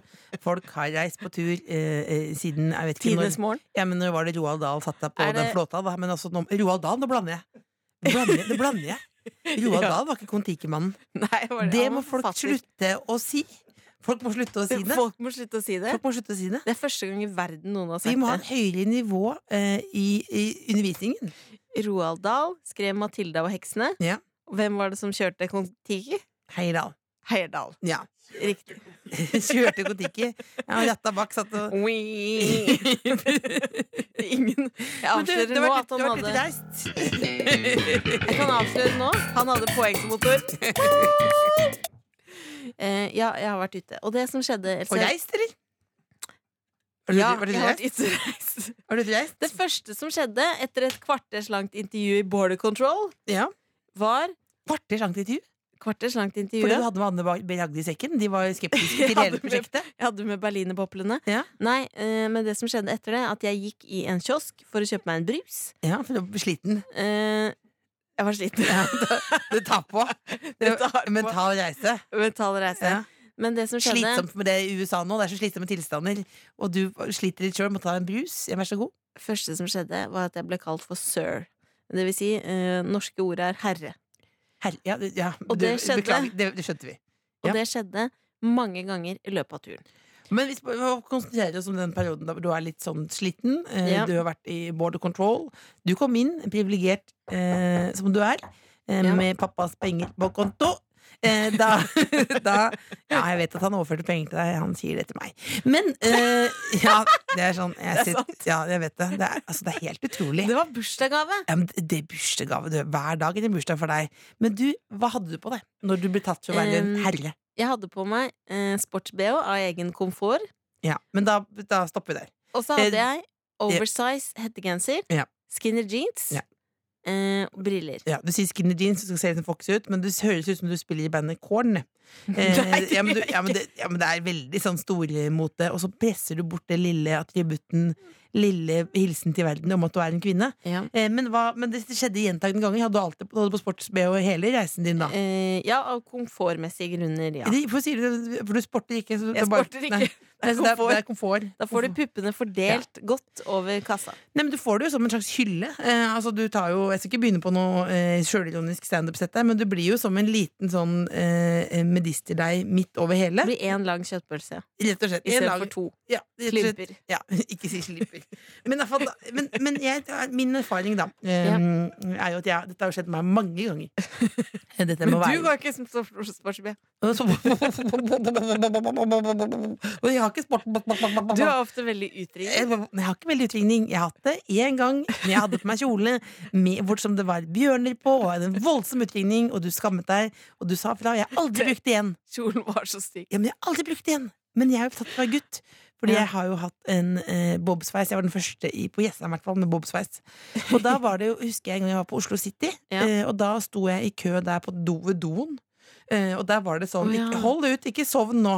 folk har reist på tur eh, eh, siden jeg vet ikke når,
morgen.
ja, men når var det Roald Dahl satt deg på
Er
den
det-
flåta. Da, men altså, nå, Roald Dahl, nå blander jeg. Nå Blander, jeg- nå blander jeg. Roald
Ja.
Dahl var ikke Kon-Tiki-mannen.
Nei, var
Det,
han var
må folk
forfatter.
slutte å si. Folk må slutte å si det.
Folk må slutte å si det.
Folk må slutte å si det.
Det er første gang i verden noen har
Vi
sagt
må ha
det.
et høyere nivå eh, i, i undervisningen.
Roald Dahl skrev 'Matilda og heksene'.
Ja.
Hvem var det som kjørte Kon-Tiki?
Heyerdahl.
Heyerdahl.
Ja.
Riktig.
Kjørte Kon-Tiki. Ja, Jatta bak satt og
Ingen Jeg
Men du,
avslører
det
nå
var litt,
at han
det var litt
hadde
reist.
Jeg kan avsløre nå. Han hadde poengsmotor. Eh, ja, jeg har vært ute. Og det som skjedde Else-
Og reist, eller? Var du,
Ja,
var du
jeg har vært
reist?
ute og reist.
Var du reist?
Det første som skjedde etter et kvarters langt intervju i Border Control,
Ja.
var
Kvarter langt intervju.
Kvarters langt intervju,
Fordi du
ja.
hadde med Anne Ba- B. Ragde i sekken. De var jo skeptiske til
Jeg hadde
hele
med-
prosjektet.
Jeg hadde med berlinerboblene.
Ja.
Nei, eh, men det som skjedde etter det, at jeg gikk i en kiosk for å kjøpe meg en brus.
Ja, for du var sliten.
Eh, jeg var sliten.
Du tar på. Det
tar på.
Mental reise.
Mental reise.
Ja.
Men det som skjedde
Slitsomt med det i USA nå. Det er så slitsomme tilstander. Og du sliter litt sjøl, må ta deg en brus. Ja, vær så god.
første som skjedde, var at jeg ble kalt for sir. Det vil si, eh, norske ordet er herre.
Herre, ja, du- ja,
Og det skjedde.
Beklager, det, det skjønte vi.
Og
Ja.
det skjedde mange ganger i løpet av turen.
Men vi sp- konsentrerer oss om den perioden da du er litt sånn sliten. eh,
Ja.
Du har vært i border control. Du kom inn privilegert eh, som du er, eh,
Ja.
med pappas penger på konto. Eh, da, da Ja, jeg vet at han overførte penger til deg, han sier det til meg. Men eh, ja, det er sånn jeg
Det er
sitter- Ja, jeg vet det. Det er, altså, det er helt utrolig.
Det var bursdagsgave!
Ja, men det er bursdagsgave. du. Hver dag er det bursdag for deg. Men du, hva hadde du på deg når du ble tatt for å være en
Um,
herre?
Jeg hadde på meg eh, sports-BH av egen komfort.
Ja, men da, da stopper vi der.
Og så hadde
Eh,
jeg oversize hettegenser,
Ja.
skinny jeans
Ja.
eh, og briller.
Ja, du sier skinny jeans, du skal se litt sånn fox ut, men du høres ut som du spiller i bandet Korn. Eh,
Nei, det
ja, men du,
gjør jeg
ja, men det, ja, men det er veldig sånn stormote, og så presser du bort det lille attributten, lille hilsen til verden om at du er en kvinne.
Ja.
Eh, men, hva, men det skjedde gjentagende ganger. Hadde du alltid hadde du på sports-BH hele reisen din da?
Eh, ja, av komfortmessige grunner, ja.
Det- Hvorfor sier du det? For du sporter ikke. så det
Jeg
er bare-
sporter ikke.
Nei. Nei, så Det er, det er komfort.
Da får du puppene fordelt godt over kassa.
Nei, men Du får det jo som en slags hylle. Eh, altså du tar jo, Jeg skal ikke begynne på noe eh, sjølironisk standup-sett, der, men du blir jo som en liten sånn eh, medisterdeig midt over hele.
Det blir én lang kjøttpølse
Rett og slett.
i
En
stedet
lang-
for to.
Ja, rett og slett.
Klimper.
Ja, ikke si slipper. Men, i hvert fall da, men, men jeg, min erfaring, da, eh,
Ja.
er jo at jeg, dette har jo skjedd meg mange ganger. Dette må være-
ikke som sportsbø.
Og så- Og jeg har ikke sport...
Du er ofte veldig utringende.
Jeg, Eh, jeg har ikke veldig utvikling. Jeg har hatt det én gang. Men jeg hadde på meg kjole med, hvor som det var bjørner på, og en voldsom utvikling, og du skammet deg, og du sa fra. Jeg har aldri brukt det igjen.
Kjolen var så stygg.
Ja, men jeg har aldri brukt det igjen. Men jeg er jo opptatt av å være gutt. Fordi
Ja.
jeg har jo hatt en eh, bobsveis. Jeg var den første i, på Jessheim i hvert fall med bobsveis. Og da var det jo, husker jeg en gang jeg var på Oslo City,
Ja.
eh, og da sto jeg i kø der på do ved doen. Eh, og der var det sånn
Å, ja.
ikke, Hold ut, ikke sovn nå.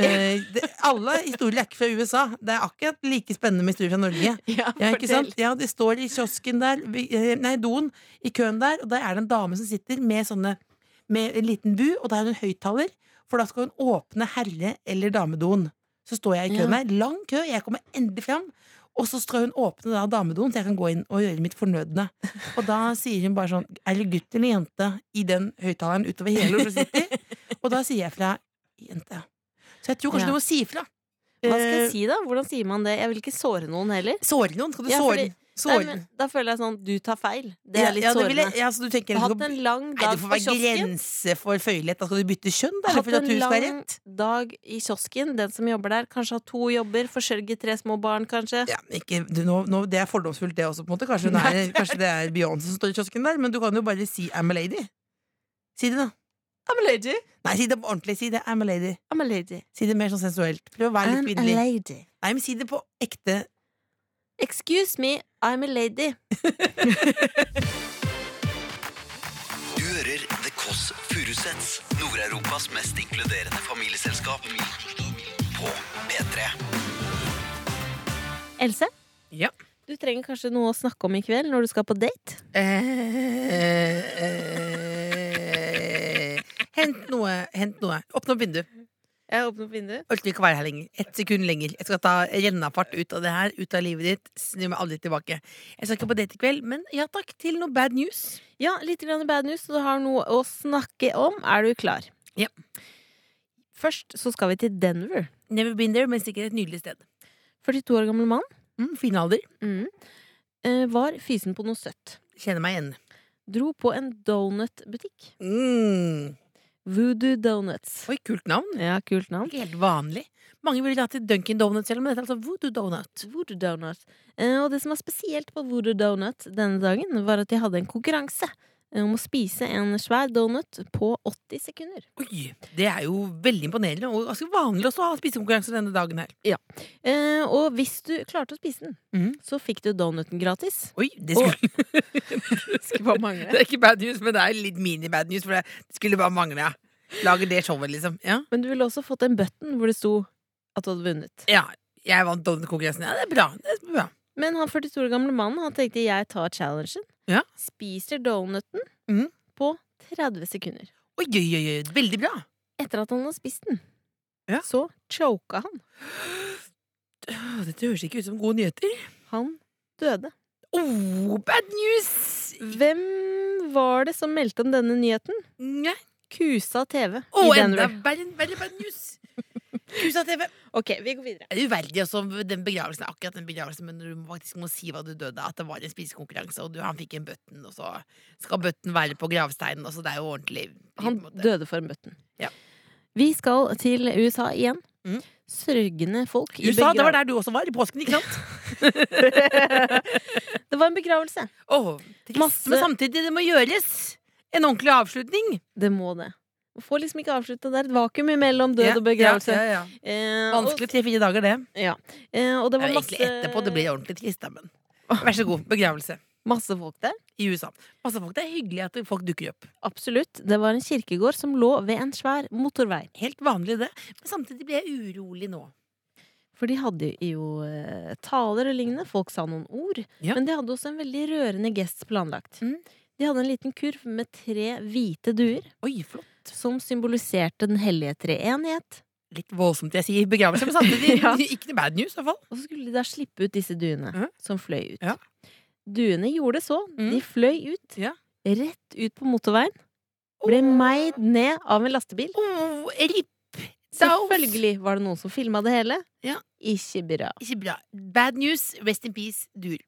Eh, det, alle historier er ikke fra USA. Det er akkurat like spennende med historier fra Norge.
Ja,
Ja, ikke
fortell.
sant? Ja, de står i kiosken der, vi- eh, nei, doen, i køen der, og der er det en dame som sitter med sånne med en liten bu, og der har hun høyttaler, for da skal hun åpne herre- eller damedoen. Så står jeg i køen der, lang kø, jeg kommer endelig fram, og så skal hun åpne da damedoen, så jeg kan gå inn og gjøre mitt fornødne. Og da sier hun bare sånn, er det gutt eller jente i den høyttaleren utover hele Oslo City? Og da sier jeg fra, jente. Så jeg tror
Ja.
kanskje du må si fra.
Hva skal
Eh,
jeg si, da? Hvordan sier man det? Jeg vil ikke såre noen heller.
Såre noen, skal du
Ja,
såre?
fordi- Nei,
såre.
men, da føler jeg sånn du tar feil. Det
Ja,
er litt
ja, det vil
sårende.
jeg- ja, så du tenker
Jeg har
liksom-
hatt en lang
Nei,
dag
det får
på
være
kiosken.
grense for føyelighet. Da skal du bytte kjønn, da?
Jeg har
Eller for
hatt
at du
en
skal ha
lang
rett?
dag i kiosken. Den som jobber der, kanskje har to jobber, forsørger tre små barn, kanskje.
Ja, men ikke, du, nå, nå, det er fordomsfullt, det også. på en måte Kanskje, hun er, kanskje det er Beyoncé som står i kiosken der, men du kan jo bare si 'I'm a lady'. Si det, da.
I'm a lady.
Nei, si det på ordentlig. Si det 'I'm a lady'.
I'm a lady.
Si det mer sånn sensuelt. Prøv å være litt
I'm a
kvinnelig.
lady.
Nei, men si det på ekte.
Excuse me, I'm a lady.
Du hører The Kåss Furuseths, Nord-Europas mest inkluderende familieselskap. På P3.
Else,
Ja.
du trenger kanskje noe å snakke om i kveld når du skal på date?
Eh, eh, Hent noe. Hent noe. Åpne opp vinduet.
Jeg åpner opp vinduet.
orker ikke å være her lenger. Ett sekund lenger. Jeg skal ta rennafart ut av det her, ut av livet ditt. Snu meg aldri tilbake. Jeg skal ikke på date i kveld, men ja takk til noe bad news.
Ja, litt grann bad news, så du har noe å snakke om. Er du klar?
Ja.
Først så skal vi til Denver.
Never been there, men sikkert et nydelig sted.
42 år gammel mann.
Mm, fin alder.
Mm. Eh, var fysen på noe søtt.
Kjenner meg igjen.
Dro på en donutbutikk.
Mm.
Voodoo Donuts.
Oi, kult navn.
Ja, kult navn.
Ikke helt vanlig. Mange ville hatt et Dunkin' Donuts, selv, men dette er altså Voodoo Donut.
Voodoo Donut. Eh, og det som var spesielt på Voodoo Donut denne dagen, var at de hadde en konkurranse eh, om å spise en svær donut på 80 sekunder.
Oi, Det er jo veldig imponerende, og ganske vanlig også å ha spisekonkurranse denne dagen her.
Eh, og hvis du klarte å spise den,
Mhm.
så fikk du donuten gratis.
Oi, Det skulle
Skulle bare mangle.
Det er ikke bad news, men det er litt mini-bad news, for det skulle bare mangle. ja. Lager det showet, liksom. Ja.
Men du ville også fått en button hvor det sto at du hadde vunnet.
Ja, jeg vant Donut-konkurransen. Ja, det er bra. Det er bra.
Men han 42 år gamle mannen han tenkte jeg tar challengen.
Ja.
Spiser donuten
Mhm.
Mm.
på 30 sekunder.
Oi, oi, oi, oi, veldig bra.
Etter at han har spist den,
Ja.
så choka han.
Åh, Dette høres ikke ut som gode nyheter.
Han døde.
Oh, bad news!
Hvem var det som meldte om denne nyheten?
Nei.
Kusa TV
Åh,
i
enda
Denver.
verre verre bad news! Kusa TV.
Ok, vi går videre.
Det er uverdig også den begravelsen, akkurat den begravelsen, men når du faktisk må si hva du døde av, at det var en spisekonkurranse, og du, han fikk en bøtten, og så skal bøtten være på gravsteinen, altså det er jo ordentlig. på en
Han
måte.
døde for en bøtten.
Ja.
Vi skal til USA igjen.
Mm.
Sørgende folk i
USA, det var
begra-
der du også var, i påsken, ikke sant?
det var en begravelse.
Åh, trist,
Masse-
men samtidig, det må gjøres en ordentlig avslutning.
Det må det. Man får liksom ikke avslutta der. Et vakuum imellom død
Ja,
og begravelse.
ja, ja, ja.
Eh,
Vanskelig tre-fire dager, det.
Og, eh, og det
Det er
var
jo egentlig
masse,
etterpå det blir ordentlig trist, da, men vær så god. Begravelse
masse folk der.
i USA. Masse folk, Det er hyggelig at folk dukker opp.
Absolutt. Det var en kirkegård som lå ved en svær motorvei.
Helt vanlig, det. Men samtidig blir jeg urolig nå.
For de hadde jo eh, taler og lignende. Folk sa noen ord.
Ja.
Men de hadde også en veldig rørende gest planlagt.
Mm.
De hadde en liten kurv med tre hvite duer
Oi, flott.
som symboliserte den hellige treenighet.
Litt voldsomt jeg sier begravelse, men samtidig
Ja.
ikke noe bad news, i hvert fall.
Og så skulle de da slippe ut disse duene
Mhm.
som fløy ut.
Ja.
Duene gjorde det så.
Mm.
De fløy ut.
Ja.
Rett ut på motorveien. Ble meid ned av en lastebil.
Oh, RIP! Saus.
Selvfølgelig var det noen som filma det hele.
Ja.
Ikke bra.
Ikke bra. Bad news, rest in peace, dur.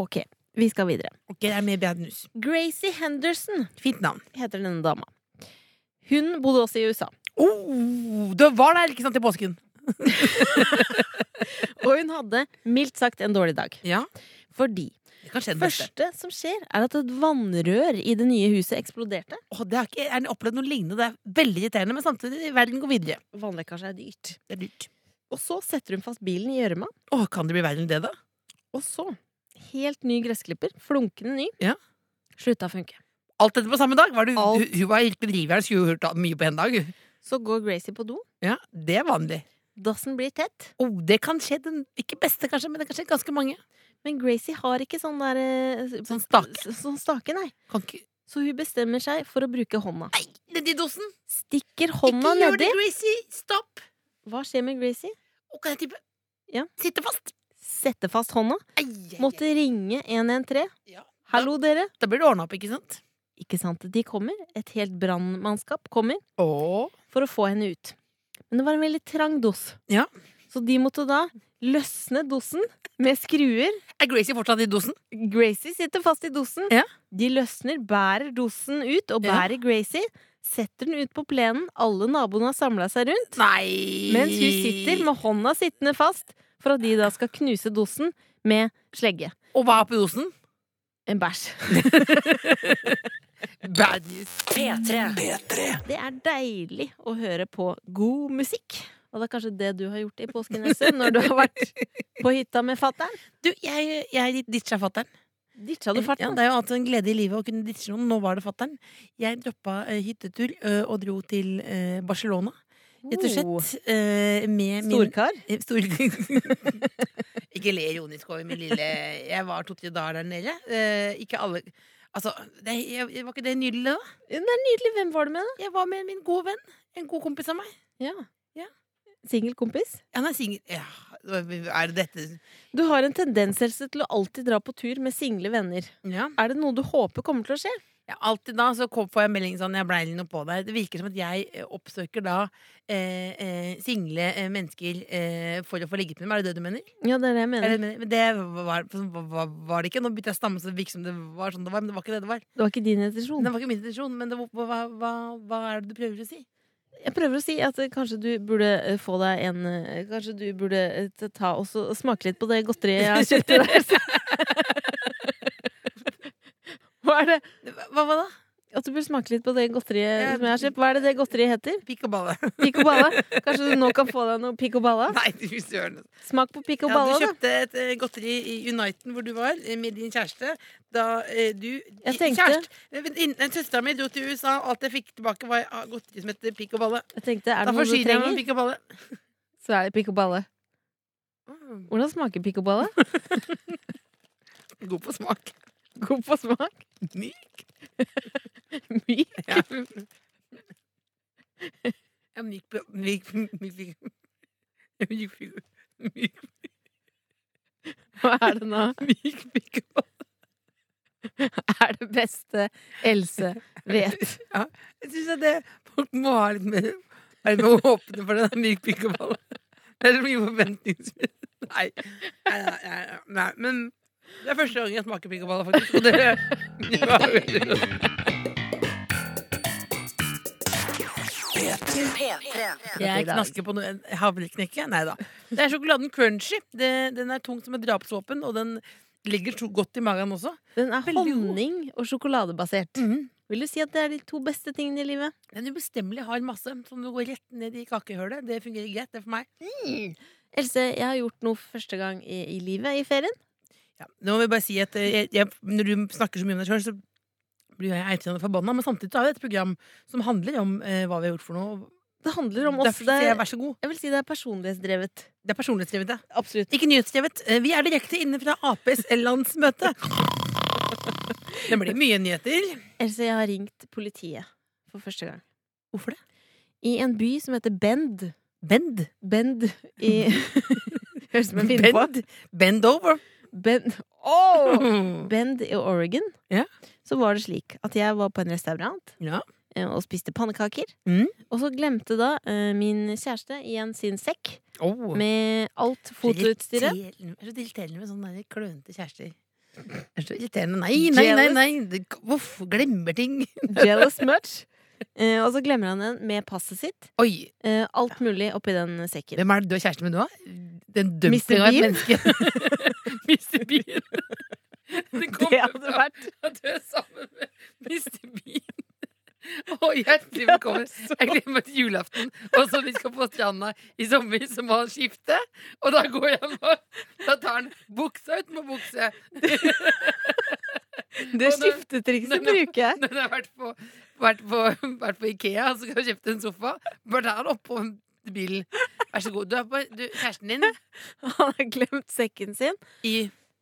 Ok, vi skal videre.
Ok, det er mer bad news.
Gracie Henderson
Fint navn.
heter denne dama. Hun bodde også i USA.
Oh, du var der, ikke sant, til påsken?
Og hun hadde mildt sagt en dårlig dag.
Ja.
Fordi
Det kan skje
det
den beste.
første som skjer, er at et vannrør i det nye huset eksploderte.
Åh, det har ikke jeg har opplevd noe lignende. Det er veldig irriterende, men samtidig, verden går videre.
Vannlekkasje er dyrt.
Det er dyrt.
Og så setter hun fast bilen i gjørma,
Åh, kan det bli verre enn det, da?
og så, helt ny gressklipper, flunkende ny,
Ja.
slutta å funke.
Alt dette på samme dag? Var det,
Alt.
hun, hun var helt bedrivjern, skulle hørt mye på en dag. hun.
Så går Gracie på do,
Ja, Det er vanlig.
dassen blir tett,
Oh, det kan skje den ikke beste, kanskje, men det kan skje ganske mange.
men Gracie har ikke sånn der eh,
Sånn stake.
s- Sånn stake, nei.
Kan ikke
Så hun bestemmer seg for å bruke hånda.
Nei, nedi dosen!
Stikker
Ikke
hånda
gjør
nedi.
det, Gracie! Stopp!
Hva skjer med Gracie?
Å, kan jeg tippe?
Ja.
Sitte fast!
Setter fast hånda.
Ai, ai, ai.
Måtte ringe 113.
Ja.
Hallo, dere.
Da blir det ordna opp, ikke sant?
Ikke sant, de kommer. Et helt brannmannskap kommer
Åh.
for å få henne ut. Men det var en veldig trang dos.
Ja.
Så de måtte da løsne dosen med skruer.
Er Gracie fortsatt i dosen?
Gracie sitter fast i dosen.
Ja.
De løsner, bærer dosen ut og
Ja.
bærer Gracie. Setter den ut på plenen. Alle naboene har samla seg rundt.
Nei!
Mens hun sitter med hånda sittende fast for at de da skal knuse dosen med slegge.
Og hva er på dosen?
En bæsj.
Bad news.
P3.
Det er deilig å høre på god musikk. Og det er kanskje det du har gjort i påsken, Esse, når du har vært på hytta med fatter'n.
Du, jeg, jeg ditcha fatter'n.
Ditcha du
Eh, Ja,
farten?
det er jo alltid en glede i livet å kunne ditche noen. Nå var det fatter'n. Jeg droppa eh, hyttetur ø, og dro til eh, Barcelona, rett og
Oh.
slett. eh, med min
Storkar?
eh, Stor... Ikke le ironisk over min lille Jeg var to-tre dager der nede. Eh, ikke alle Altså, det, jeg, jeg- var ikke det nydelig, da?
Det er nydelig. Hvem var du med, da?
Jeg var med min gode venn. En god kompis av meg.
Ja.
Ja.
Singelkompis?
Han er singel ja, Er det dette
Du har en tendens Else, til å alltid dra på tur med single venner.
Ja.
Er det noe du håper kommer til å skje?
Ja, alltid da så kom, får jeg melding sånn Jeg blei litt noe på deg. Det virker som at jeg eh, oppsøker da eh, eh, single eh, mennesker eh, for å få ligget med dem. Er det det du mener?
Ja, det er det jeg
Er
mener.
det, det du mener? men det var, var- var, var det ikke. Nå begynte jeg å stamme, så det virker som det var sånn det var. Men det var ikke det det var.
Det var ikke din
Det
intensjon.
var ikke min intensjon. Men det, var- hva, hva, hva er det du prøver å si?
Jeg prøver å si at eh, kanskje du burde eh, få deg en eh, Kanskje du burde eh, ta- ta og så smake litt på det godteriet jeg har kjøpt til deg. Else. Hva er det?
Hva var det?
At du burde smake litt på det godteriet
Ja,
som jeg har kjøpt. Hva er det det godteriet heter?
Pikk og balle.
Pico Balla? Kanskje du nå kan få deg noe Pico Balla?
Nei, du søren.
Smak på Pico
Ja,
Balla,
du
da.
kjøpte et eh, godteri i Uniten hvor du var eh, med din kjæreste. Da eh, du
Jeg tenkte-
Kjæreste Søstera mi dro til USA, og alt jeg fikk tilbake, var ah, godteri som het pikk og balle.
Jeg tenkte, er
Da
det noe du
forsyner jeg meg med
trenger,
pikk og balle.
så er det Pico Balla.
Mm,
Hvordan smaker Pico Balla?
God på smak.
God på smak?
Myk.
Myk?
Ja. Ja, myk, på- myk Myk, myk, myk. Myk, myk, myk. Hva er det nå? Myk, myk.
er det beste Else vet.
Jeg syns at det, folk må ha litt mer Være mer åpne for den myk pikkeballen. Det er så mye forventningsfull. Nei. Nei, nei, nei, nei. Men det er første gang jeg smaker pikkeballer, faktisk. Og det, det var veldig Jeg knasker på noe en havreknekke. Nei da. Det er sjokoladen crunchy. Det, den er tung som et drapsvåpen, og den ligger så godt i magen også.
Den er
Veldig god.
honning og sjokoladebasert.
Mhm.
Vil du si at det er de to beste tingene i livet?
Den ubestemmelige har masse, som du går rett ned i kakehølet. Det fungerer greit, det er for meg.
Else, jeg har gjort noe for første gang i, i livet i ferien.
Ja. Nå må jeg bare si at eh, jeg, jeg, Når du snakker så mye om deg sjøl, så blir jeg eitrende forbanna. Men samtidig så er det et program som handler om eh, hva vi har gjort for noe.
Det handler om oss.
Derfor
Det
sier jeg
er,
vær så god.
jeg vil si det er personlighetsdrevet.
Det er personlighetsdrevet, det.
Absolutt.
Ikke nyhetsdrevet. Eh, Vi er direkte inne fra Aps landsmøte. Det blir mye nyheter.
Else, jeg har ringt politiet for første gang.
Hvorfor det?
I en by som heter Bend.
Bend.
Bend i Høres ut som en film på.
Bend, Bend over.
Bend. Bend i Oregon.
Ja.
Så var det slik at jeg var på en restaurant
Ja.
eh, og spiste pannekaker.
Mm.
Og så glemte da eh, min kjæreste igjen sin sekk
Oh.
med alt fotoutstyret.
Irriterende- Jeg er så irriterende med sånne der klønete kjærester. Jeg er så irriterende. Nei, nei, nei! nei. Det- Uff, glemmer ting.
Jealous much. Eh, og så glemmer han den med passet sitt.
Oi,
Eh, alt mulig oppi den sekken.
Hvem er det du er kjæreste med nå? Den
Mr.
dømte av et
Bean?
menneske. Mr. Bean. Det, hadde vært at du er sammen med Mr. Bean. Å, hjertelig velkommen. Jeg gleder meg til julaften. Og så vi skal på stranda i sommer, så må han skifte. Og da går jeg på Da tar han buksa ut med bukse.
Det
Og når-
skiftetrikset
når-
bruker jeg.
Når jeg har vært på, vært på, vært på Ikea og skal kjøpe en sofa, bare tar han oppå bilen. Vær så god. Du er på, du, kjæresten din
Han har glemt sekken sin.
i,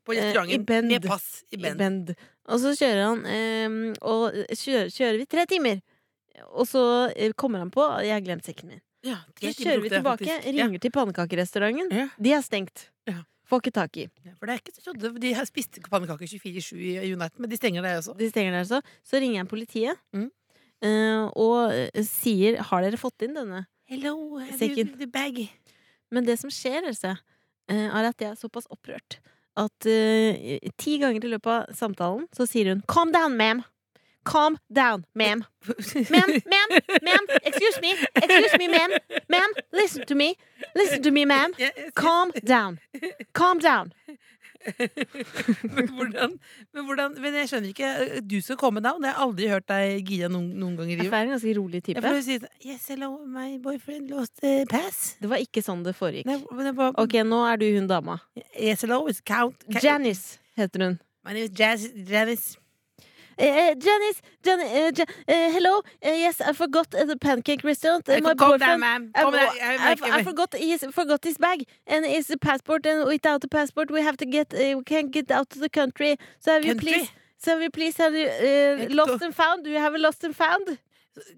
på
Eh,
restauranten
i Bend.
med pass i
i
Bend.
bend. Og så kjører han ehm, Og kjører, kjører vi tre timer. Og så eh, kommer han på at jeg har glemt sekken min.
Ja,
Så
tre timer
kjører vi
brukte jeg
tilbake,
faktisk.
ringer til pannekakerestauranten.
Ja.
De er stengt.
Ja.
Får ikke tak i.
Ja, for det er ikke så trodde, De her spiste ikke pannekaker 24-7 i United, men de stenger det også.
De stenger der, så. Så ringer jeg politiet
Mm.
eh, og eh, sier 'Har dere fått inn denne?'
Hello,
you
have you the bag?
Men det som skjer, Else, eh, er at jeg er såpass opprørt at eh, ti ganger i løpet av samtalen så sier hun 'Calm down, ma'am'. Calm down, ma'am. Ma'am, ma'am, ma'am, excuse me, excuse me, ma'am. Ma'am, listen to me. Listen to me, ma'am. Calm down. Calm down.
men hvordan, men hvordan Men jeg skjønner ikke. eh, Du skal komme down. Jeg har aldri hørt deg gira noen, noen gang i
Jeg
livet.
er en ganske rolig
Jeg
type.
får jo si sånn, Yes, hello, my boyfriend lost the pass.
Det var ikke sånn det foregikk.
Nei, men det var,
Ok, nå er du hun dama.
Yes, hello, it's count. ca-
Janice heter hun.
My name is Jazz, Janice.
Eh, eh, Janice, Jan eh, Ja- eh, hello. Eh, yes, I forgot at the pancake restaurant. Eh,
I
my
for- Calm down,
boyfriend-
ma'am.
I,
Calm down.
I, I, I forgot his forgot his bag and his passport and without the passport we have to get uh, we can't get out to the country. So have you
Country?
please so have you please have you uh,
Hector.
lost and found? Do you have a lost and found?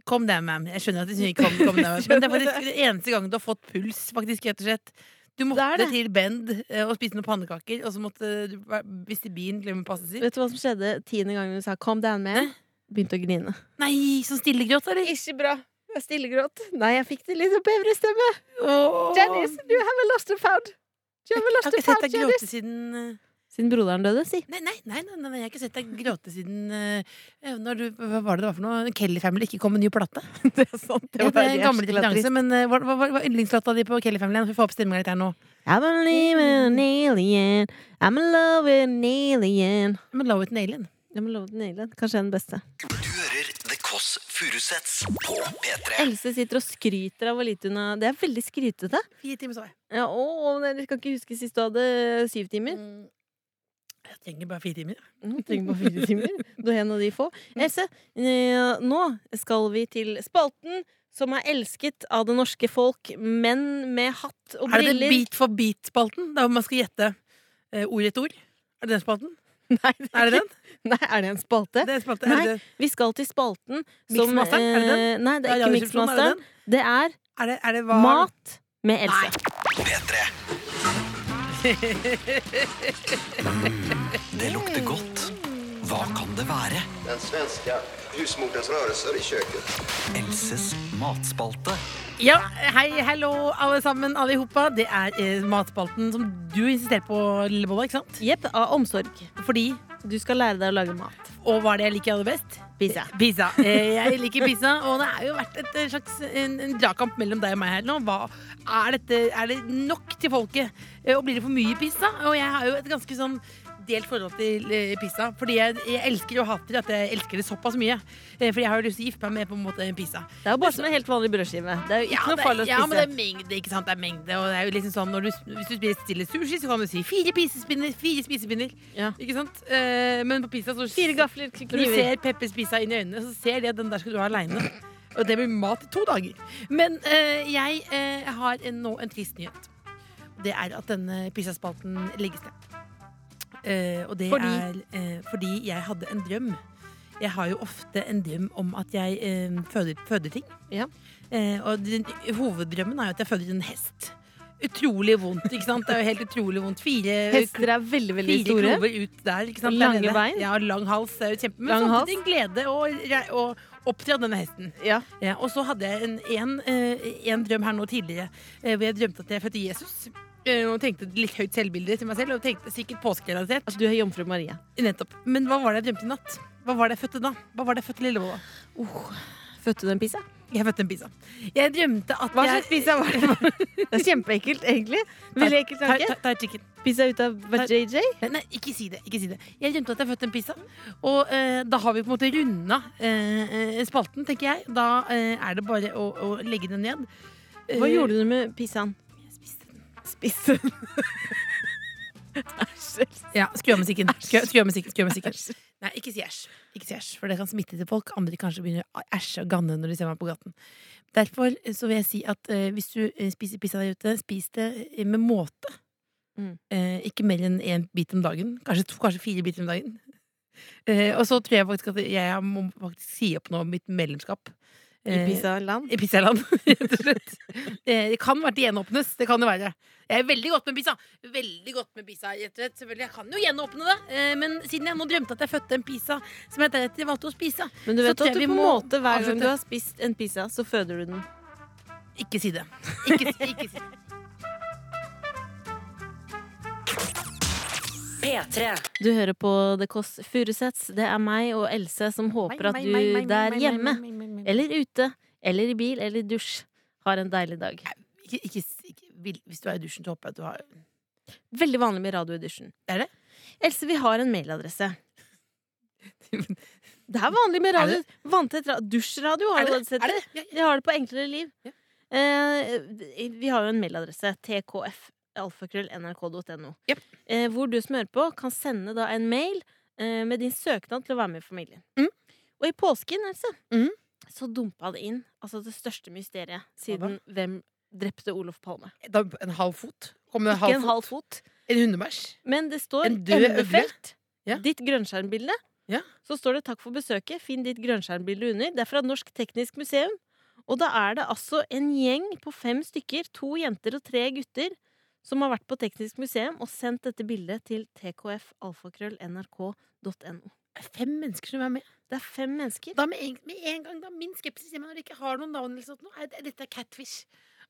Calm down, ma'am. Jeg skjønner at du sier calm, calm down. ma'am. Men det er faktisk den eneste gangen du har fått puls, faktisk, rett og slett. Du måtte
Det er det.
til Bend eh, og spise noen pannekaker, og så måtte du væ- miste bilen, glemme passet sitt.
Vet du hva som skjedde tiende gangen hun sa 'calm down, man'? Begynte å grine.
Nei, sånn stillegråt, eller?
Ikke bra. Jeg stillegråt. Nei, jeg fikk det litt opp øvre stemme.
Åh.
Janice, do you have a lost and found? Do you have a
Jeg
lost
har
and
ikke sett
found,
deg
Janice?
gråte siden eh,
Siden broderen døde, si.
Nei, nei, nei, nei, nei, nei jeg har ikke sett deg gråte siden eh, Når du, Hva var det det var for noe? Kelly Family ikke kom med ny plate.
Det er sant.
Det var en gammel referanse, men eh, hva hva- hva var yndlingslåta di på Kelly Family? Nå får vi få opp stemninga litt her nå.
I'm a leaving an alien. I'm in love with an alien.
Men Love It and Alien.
I'm in love with an alien. Kanskje den beste.
Du hører The Kåss Furuseths på P3.
Else sitter og skryter av hvor lite hun har Det er veldig skrytete.
Fire timer, så jeg.
Ja, å, men jeg kan ikke huske sist du hadde syv timer.
Mm. Jeg trenger bare fire timer.
Mm, trenger bare fire timer. Du er en av de få. Else, eh, nå skal vi til spalten som er elsket av det norske folk. Menn med hatt og
Er det den
briller.
Beat for beat-spalten? Der man skal gjette eh, ord etter ord? Er det den spalten?
Nei, det
Er det
ikke- Nei, er det en spalte?
Det er spalte.
Nei,
er det,
Vi skal til spalten som
Mixmasteren, er det
eh, Nei, det er
Ja,
ikke
Radioresepsjonen, er det
Mixmasteren. Det er
Er det, er det hva?
Mat med Else.
P3. Det lukter godt. Hva kan det være?
Den svenska husmorens rörelser i köket.
Elses matspalte.
Ja, hei, hallo, alle sammen, alle ihop. Det er eh, matspalten som du insisterer på, Lillebolla, ikke sant?
Jepp, av omsorg.
Fordi
Du skal lære deg å lage mat.
Og hva er det jeg liker aller best?
Pizza.
Pizza. Eh, Jeg liker pizza, og det har jo vært et eh, slags en, en dragkamp mellom deg og meg her nå. Hva er, dette, er det nok til folket? Eh, Og blir det for mye pizza? Og jeg har jo et ganske sånn delt forhold til eh, pizza. Fordi jeg, jeg elsker og hater at jeg elsker det såpass mye. Eh, Fordi jeg har jo lyst til å gifte meg med på en måte pizza.
Det er jo bare som en helt vanlig brødskive. Det er jo ikke noe
det,
farlig å
ja, men det
spise.
er mengde, ikke sant? Det er mengde, og det er jo liksom sånn når du, Hvis du spiser stille sushi, så kan du si fire pisespinner, fire spisepinner.
Ja.
Ikke sant? Eh, Men på pizza så
Fire gafler,
når du
kniver.
ser Peppe spise inn i øynene, så ser de at den der skal du ha aleine. Og det blir mat i to dager. Men eh, jeg eh, har en, nå en trist nyhet. Det er at denne pizzaspalten legges ned. Eh, og det
Fordi?
er eh, fordi jeg hadde en drøm. Jeg har jo ofte en drøm om at jeg eh, føder, føder ting.
Ja.
Eh, og den, hoveddrømmen er jo at jeg føder en hest. Utrolig vondt, ikke sant? Det er jo helt utrolig vondt. Fire
Hester er veldig, veldig
Fire
store.
klover ut der. Ikke sant?
Og
der
lange
nede.
bein.
Ja, lang hals. Det er jo kjempe, men
Lang
samtidig en glede å, re- å oppdra denne hesten.
Ja.
Ja, og så hadde jeg en, en, eh, en drøm her nå tidligere, eh, hvor jeg drømte at jeg fødte Jesus. Eh, Og tenkte litt høyt selvbilde til meg selv, og tenkte sikkert påskerelatert.
At Altså, du er jomfru Maria.
Nettopp. Men hva var det jeg drømte i natt? Hva var det jeg fødte da? Hva var det jeg fødte Lillebolla?
Fødte du en pizza?
Jeg fødte en pizza. Jeg drømte at
Hva
jeg
slags pizza var det? Det er kjempeekkelt, egentlig. Veldig ekkel
Thai-
tanke.
thai- thai chicken.
Pizza ut av
Thai-
JJ.
Nei, nei, ikke si det. ikke si det Jeg glemte at jeg fødte en pizza. Og eh, da har vi på en måte runda eh, eh, spalten, tenker jeg. Da eh, er det bare å, å legge den ned. Eh,
Hva gjorde du med pizzaen? Spiste den. Æsj.
Ja, Skru av musikken. Skru, skru av musikken, skru av musikken. Nei, ikke si æsj. Ikke si æsj, For det kan smitte til folk. Andre kanskje begynner å æsje og ganne når de ser meg på gaten. Derfor så vil jeg si at eh, hvis du eh, spiser pizza der ute, spis det eh, med måte.
Mm.
Eh, ikke mer enn én bit om dagen. Kanskje to, kanskje fire biter om dagen. Eh, og så tror jeg faktisk at jeg må faktisk si opp nå mitt medlemskap.
I
Eh,
pizzaland.
i pizzaland, rett og slett. Eh, Det kan være til gjenåpnes. Det kan det være. Jeg er veldig godt med pizza. Veldig godt med pizza, rett og slett. Selvfølgelig, Jeg kan jo gjenåpne det, eh, men siden jeg nå drømte at jeg fødte en pizza som jeg deretter valgte å spise
Men du
Så
vet
tror
at du på
jeg vi
en
må
måte hver gang
avslutte.
du har spist en pizza, så føder du den.
Ikke si det. Ikke, si- ikke si det.
P3.
Du hører på The Kåss Furuseths. Det er meg og Else som håper at du der hjemme, eller ute, eller i bil, eller i dusj, har en deilig dag.
Ikke, ikke, si- ikke, vil- hvis du er i dusjen, så håper jeg at du har
Veldig vanlig med radio i dusjen.
Er det?
Else, vi har en mailadresse. Det er vanlig med radio. Vanntett ra dusjradio har
Er
du
det?
sett.
Er det? Ja,
Jeg har det på enklere liv.
Ja.
Eh, vi har jo en mailadresse. TKF. Alfakrøll.nrk.no.
Jep.
Eh, hvor du som hører på, kan sende da en mail eh, med din søknad til å være med i familien.
Mm.
Og i påsken, Else,
Mm.
så dumpa det inn altså det største mysteriet siden
da?
hvem drepte Olof Palme.
Da, en halv fot? Kom en
Ikke
halv
en
fot?
halv fot.
En hundebæsj?
Men det står
En død øgle?
endefelt.
Ja.
Ditt grønnskjermbilde.
Ja.
Så står det 'Takk for besøket'. Finn ditt grønnskjermbilde under. Det er fra Norsk Teknisk Museum. Og da er det altså en gjeng på fem stykker, to jenter og tre gutter, som har vært på Teknisk museum og sendt dette bildet til tkfalfakrøllnrk.no.
Fem mennesker som er med.
Det er fem mennesker.
Da med en, med en gang da, Min skepsis er når de ikke har noen navn. Eller sånt, nå, er, det- dette er catfish.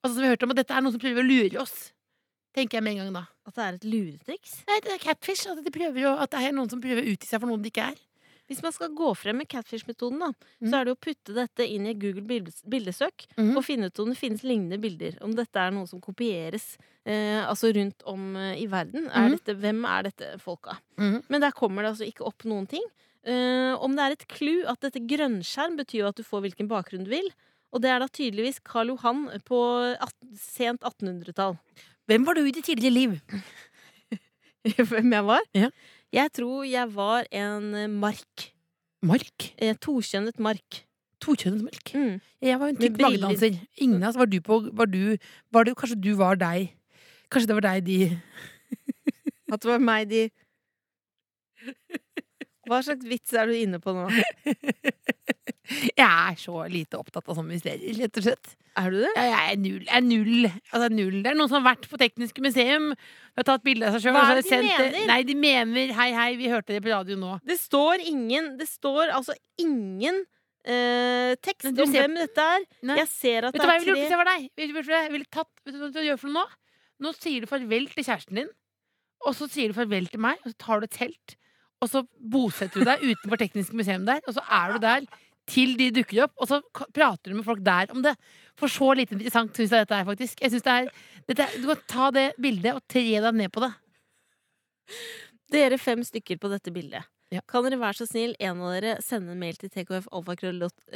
Altså som vi hørte om, at Dette er noen som prøver å lure oss. Tenker jeg med en gang da.
At det er et luretriks.
Nei, det er catfish. At, de prøver å, at det er noen som prøver å utgi seg for noen de ikke er.
Hvis man skal gå frem med catfish-metoden, da, så
Mm.
er det å putte dette inn i et Google bildes- bildesøk
Mhm.
og finne ut om det finnes lignende bilder. Om dette er noe som kopieres eh, altså rundt om eh, i verden. Er
Mhm.
dette, hvem er dette folka?
Mhm.
Men der kommer det altså ikke opp noen ting. Eh, om det er et clou at dette grønnskjerm betyr jo at du får hvilken bakgrunn du vil. Og det er da tydeligvis Karl Johan på at, sent 1800-tall.
Hvem var du i ditt tidligere liv?
Hvem jeg var?
Ja.
Jeg tror jeg var en eh, mark.
Mark.
Eh, tokjønnet mark.
Tokjønnet Mark.
Mm.
Jeg var jo en tykk
Med briller.
magedanser. Ingen av oss var du på var du, var du, Kanskje du var deg. Kanskje det var deg de
At det var meg de Hva slags vits er du inne på nå?
Jeg er så lite opptatt av sånne mysterier, rett og slett.
Er du det?
Ja, jeg er null. Jeg er null. Altså, null. Det er noen som har vært på Teknisk museum og har tatt bilde av seg sjøl.
Hva
og
er
så har
det de
sendt det-
mener?
Nei, de mener Hei, hei, vi hørte det på radio nå.
Det står ingen Det står altså ingen eh, tekst
Men du
om
ser-
hvem dette er.
Nei.
Jeg ser at
Vet
det
du hva jeg
er
ville gjort hvis
tre
jeg var deg? Vet du hva Jeg ville tatt, vet du hva du gjør for noe nå? Nå sier du farvel til kjæresten din, og så sier du farvel til meg, og så tar du et telt, og så bosetter du deg utenfor Teknisk museum der, og så er du der til de dukker opp, og så k- prater du med folk der om det. For så lite interessant syns jeg dette er, faktisk. Jeg synes det er, dette er, du kan ta det bildet og tre deg ned på det.
Dere fem stykker på dette bildet.
Ja.
Kan dere være så snill, en av dere sende en mail til
Eller på
tkfalfakrøll.nrk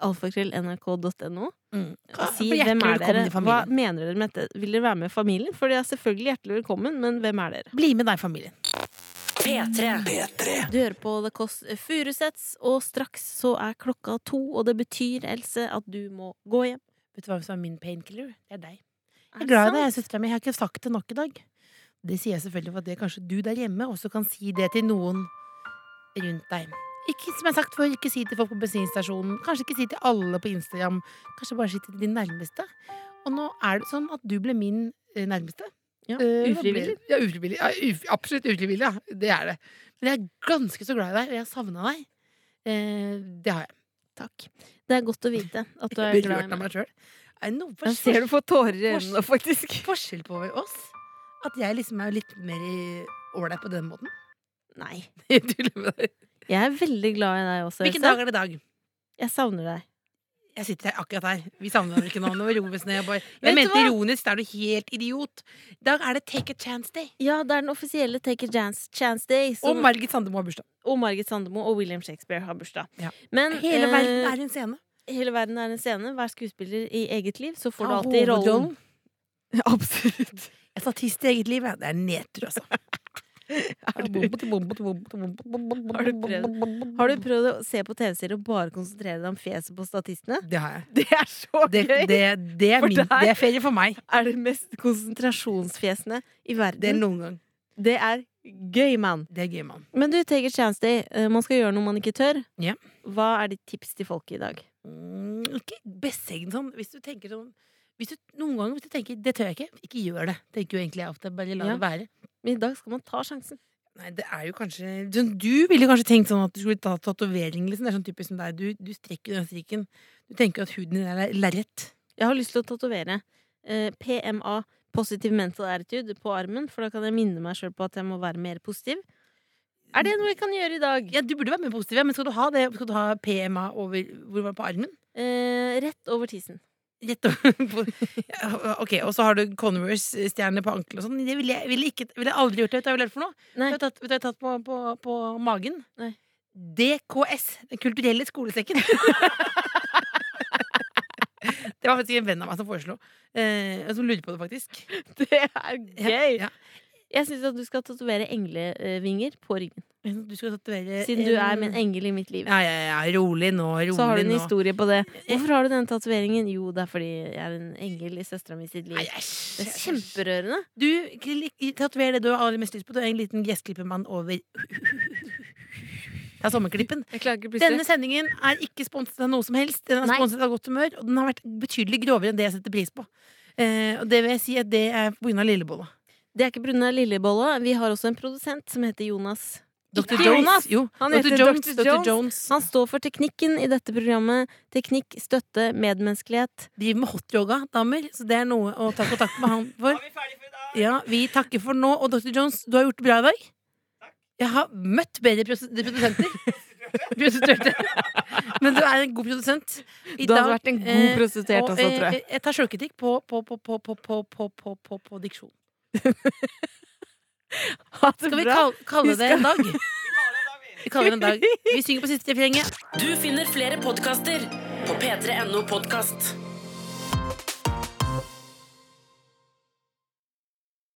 93035290.
alfakrøll.nrk.no
Mm.
og si
Hjertelig
hvem er
velkommen
dere?
i
Hva
familien.
mener dere med dette? Vil dere være med i familien? For dere er selvfølgelig hjertelig velkommen, men hvem er dere?
Bli med deg, familien.
P3.
Du hører på The Kåss Furuseths, og straks så er klokka to, og det betyr, Else, at du må gå hjem.
Vet du hva som er min painkiller? Det er deg. Jeg
Er
er
det
glad i
sant?
deg, jeg, søstera mi. Jeg har ikke sagt det nok i dag. Det sier jeg selvfølgelig for at det kanskje du der hjemme også kan si det til noen rundt deg. Ikke som jeg har sagt før, ikke si til folk på bensinstasjonen. Kanskje ikke si til alle på Instagram. Kanskje bare si til din nærmeste. Og nå er det sånn at du ble min eh, nærmeste.
Ja,
Eh, hva ble
ufrivillig.
det? Ja, ufrivillig. Ja, uf absolutt ufrivillig, ja. Det er det. Men jeg er ganske så glad i deg, og jeg har savna deg. Eh, det har jeg.
Takk. Det er godt å vite at eh, du er
Berørt
glad i
av
meg.
meg sjøl. Er det noe
Jeg ser
forskjell-
du får tårer i øynene, faktisk.
forskjell på oss? At jeg liksom er litt mer i- ålreit på den måten?
Nei.
Jeg tuller med deg.
Jeg er veldig glad i deg også,
Hvilken dag
Else.
er det i dag?
Jeg savner deg.
Jeg sitter her akkurat her. Vi savner hverandre ikke nå. Nå roer vi oss ned. og bare-
Vet
Jeg
du
mente
hva?
ironisk, da er du helt idiot. I dag er det Take a Chance Day.
Ja, det er den offisielle Take a Chance, chance Day.
Og
Som,
Margit Sandemo har bursdag.
og Margit Sandemo og William Shakespeare har bursdag.
Ja.
Men
Hele
eh,
verden er en scene.
hele verden er en scene. Vær skuespiller i eget liv, så får du
Ta
alltid rollen.
Ah, hovedrollen. Absolutt. Jeg er statist i eget liv. jeg. Det er nedtur, altså. Har du prøvd?
Har du prøvd å se på TV-serier og bare konsentrere deg om fjeset på statistene?
Det har jeg.
Det er så
Det, det, det, er
For
min,
der-
det er ferie for meg.
er det mest konsentrasjonsfjesene i
Det er
verden.
noen gang.
Det er gøy, mann.
Det er gøy, mann.
Men du, take a chance day. Eh, Man skal gjøre noe man ikke tør.
Ja.
Hva er ditt tips til folk i dag?
Mm, ikke besegn sånn. Hvis du tenker sånn hvis du, Noen ganger hvis du tenker 'det tør jeg ikke', ikke gjør det. Tenker jo egentlig jeg ofte. Bare la
Ja.
det være.
Men i dag skal man ta sjansen.
Nei, det er jo kanskje sånn, Du ville kanskje tenkt sånn at du skulle ta tatovering, liksom. Det er sånn typisk som deg. Du, du strekker den strikken. Du tenker jo at huden din er ler- lerret.
Jeg har lyst til å tatovere eh, PMA, positive mental attitude, på armen, for da kan jeg minne meg sjøl på at jeg må være mer positiv. Er det noe jeg kan gjøre i dag?
Ja, du burde være mer positiv, ja, men skal du ha det? Skal du ha PMA over Hvor var det på armen?
Eh, rett over tissen.
Rett over på, ja, Ok, og så har du Converse-stjerne på ankelet og sånn. Det ville jeg, ville ikke, ville jeg aldri gjort. Det. Vet du hva jeg ville gjort for noe?
Nei.
Vet du hva jeg har tatt på, på, på magen?
Nei.
DKS, Den kulturelle skolesekken. det var faktisk en venn av meg som foreslo. Eh, som lurte på det, faktisk.
Det er
Ja.
Jeg syns at du skal tatovere englevinger på ryggen.
Du skal tatovere
Siden du er
en-
min engel i mitt liv.
Ja, ja, ja. Rolig nå, rolig nå.
Så har du en historie på det. Hvorfor har du den tatoveringen? Jo, det er fordi jeg er en engel i søstera mi sitt liv.
Nei, æsj.
Det er kjemperørende.
Du, kli- tatover det du har aller mest lyst på. Du er en liten gressklippermann over Det er sommerklippen.
Jeg klarer ikke
Denne sendingen er ikke sponset av noe som helst. Den er
Nei.
sponset av godt humør, og den har vært betydelig grovere enn det jeg setter pris på. Eh, og det vil jeg si at det er på grunn av lillebolla.
Det er ikke pga. lillebolla. Vi har også en produsent som heter Jonas.
Dr.
Ikke Jonas.
Jo,
Han
Dr.
heter
Jones.
Dr.
Dr.
Jones.
Jones.
Han står for teknikken i dette programmet. Teknikk, støtte, medmenneskelighet.
Driver med hotyoga, damer, så det er noe å ta kontakt med han for. Ja, vi takker for nå. Og Dr. Jones, du har gjort det bra i dag. Jeg har møtt bedre pros- produsenter. Prostituerte. Men du er en god produsent. I
Du har
dag,
vært en god
eh,
prostituert
og,
også, tror
eh,
jeg.
Jeg tar sjølkritikk på, på, på, på, på, på, på, på, på, på diksjon.
Ha det
Skal vi
bra.
kal kalle det
Husk-
en dag? Vi kaller det en dag. Vi synger på siste refrenget.
Du finner flere podkaster på p3.no podkast.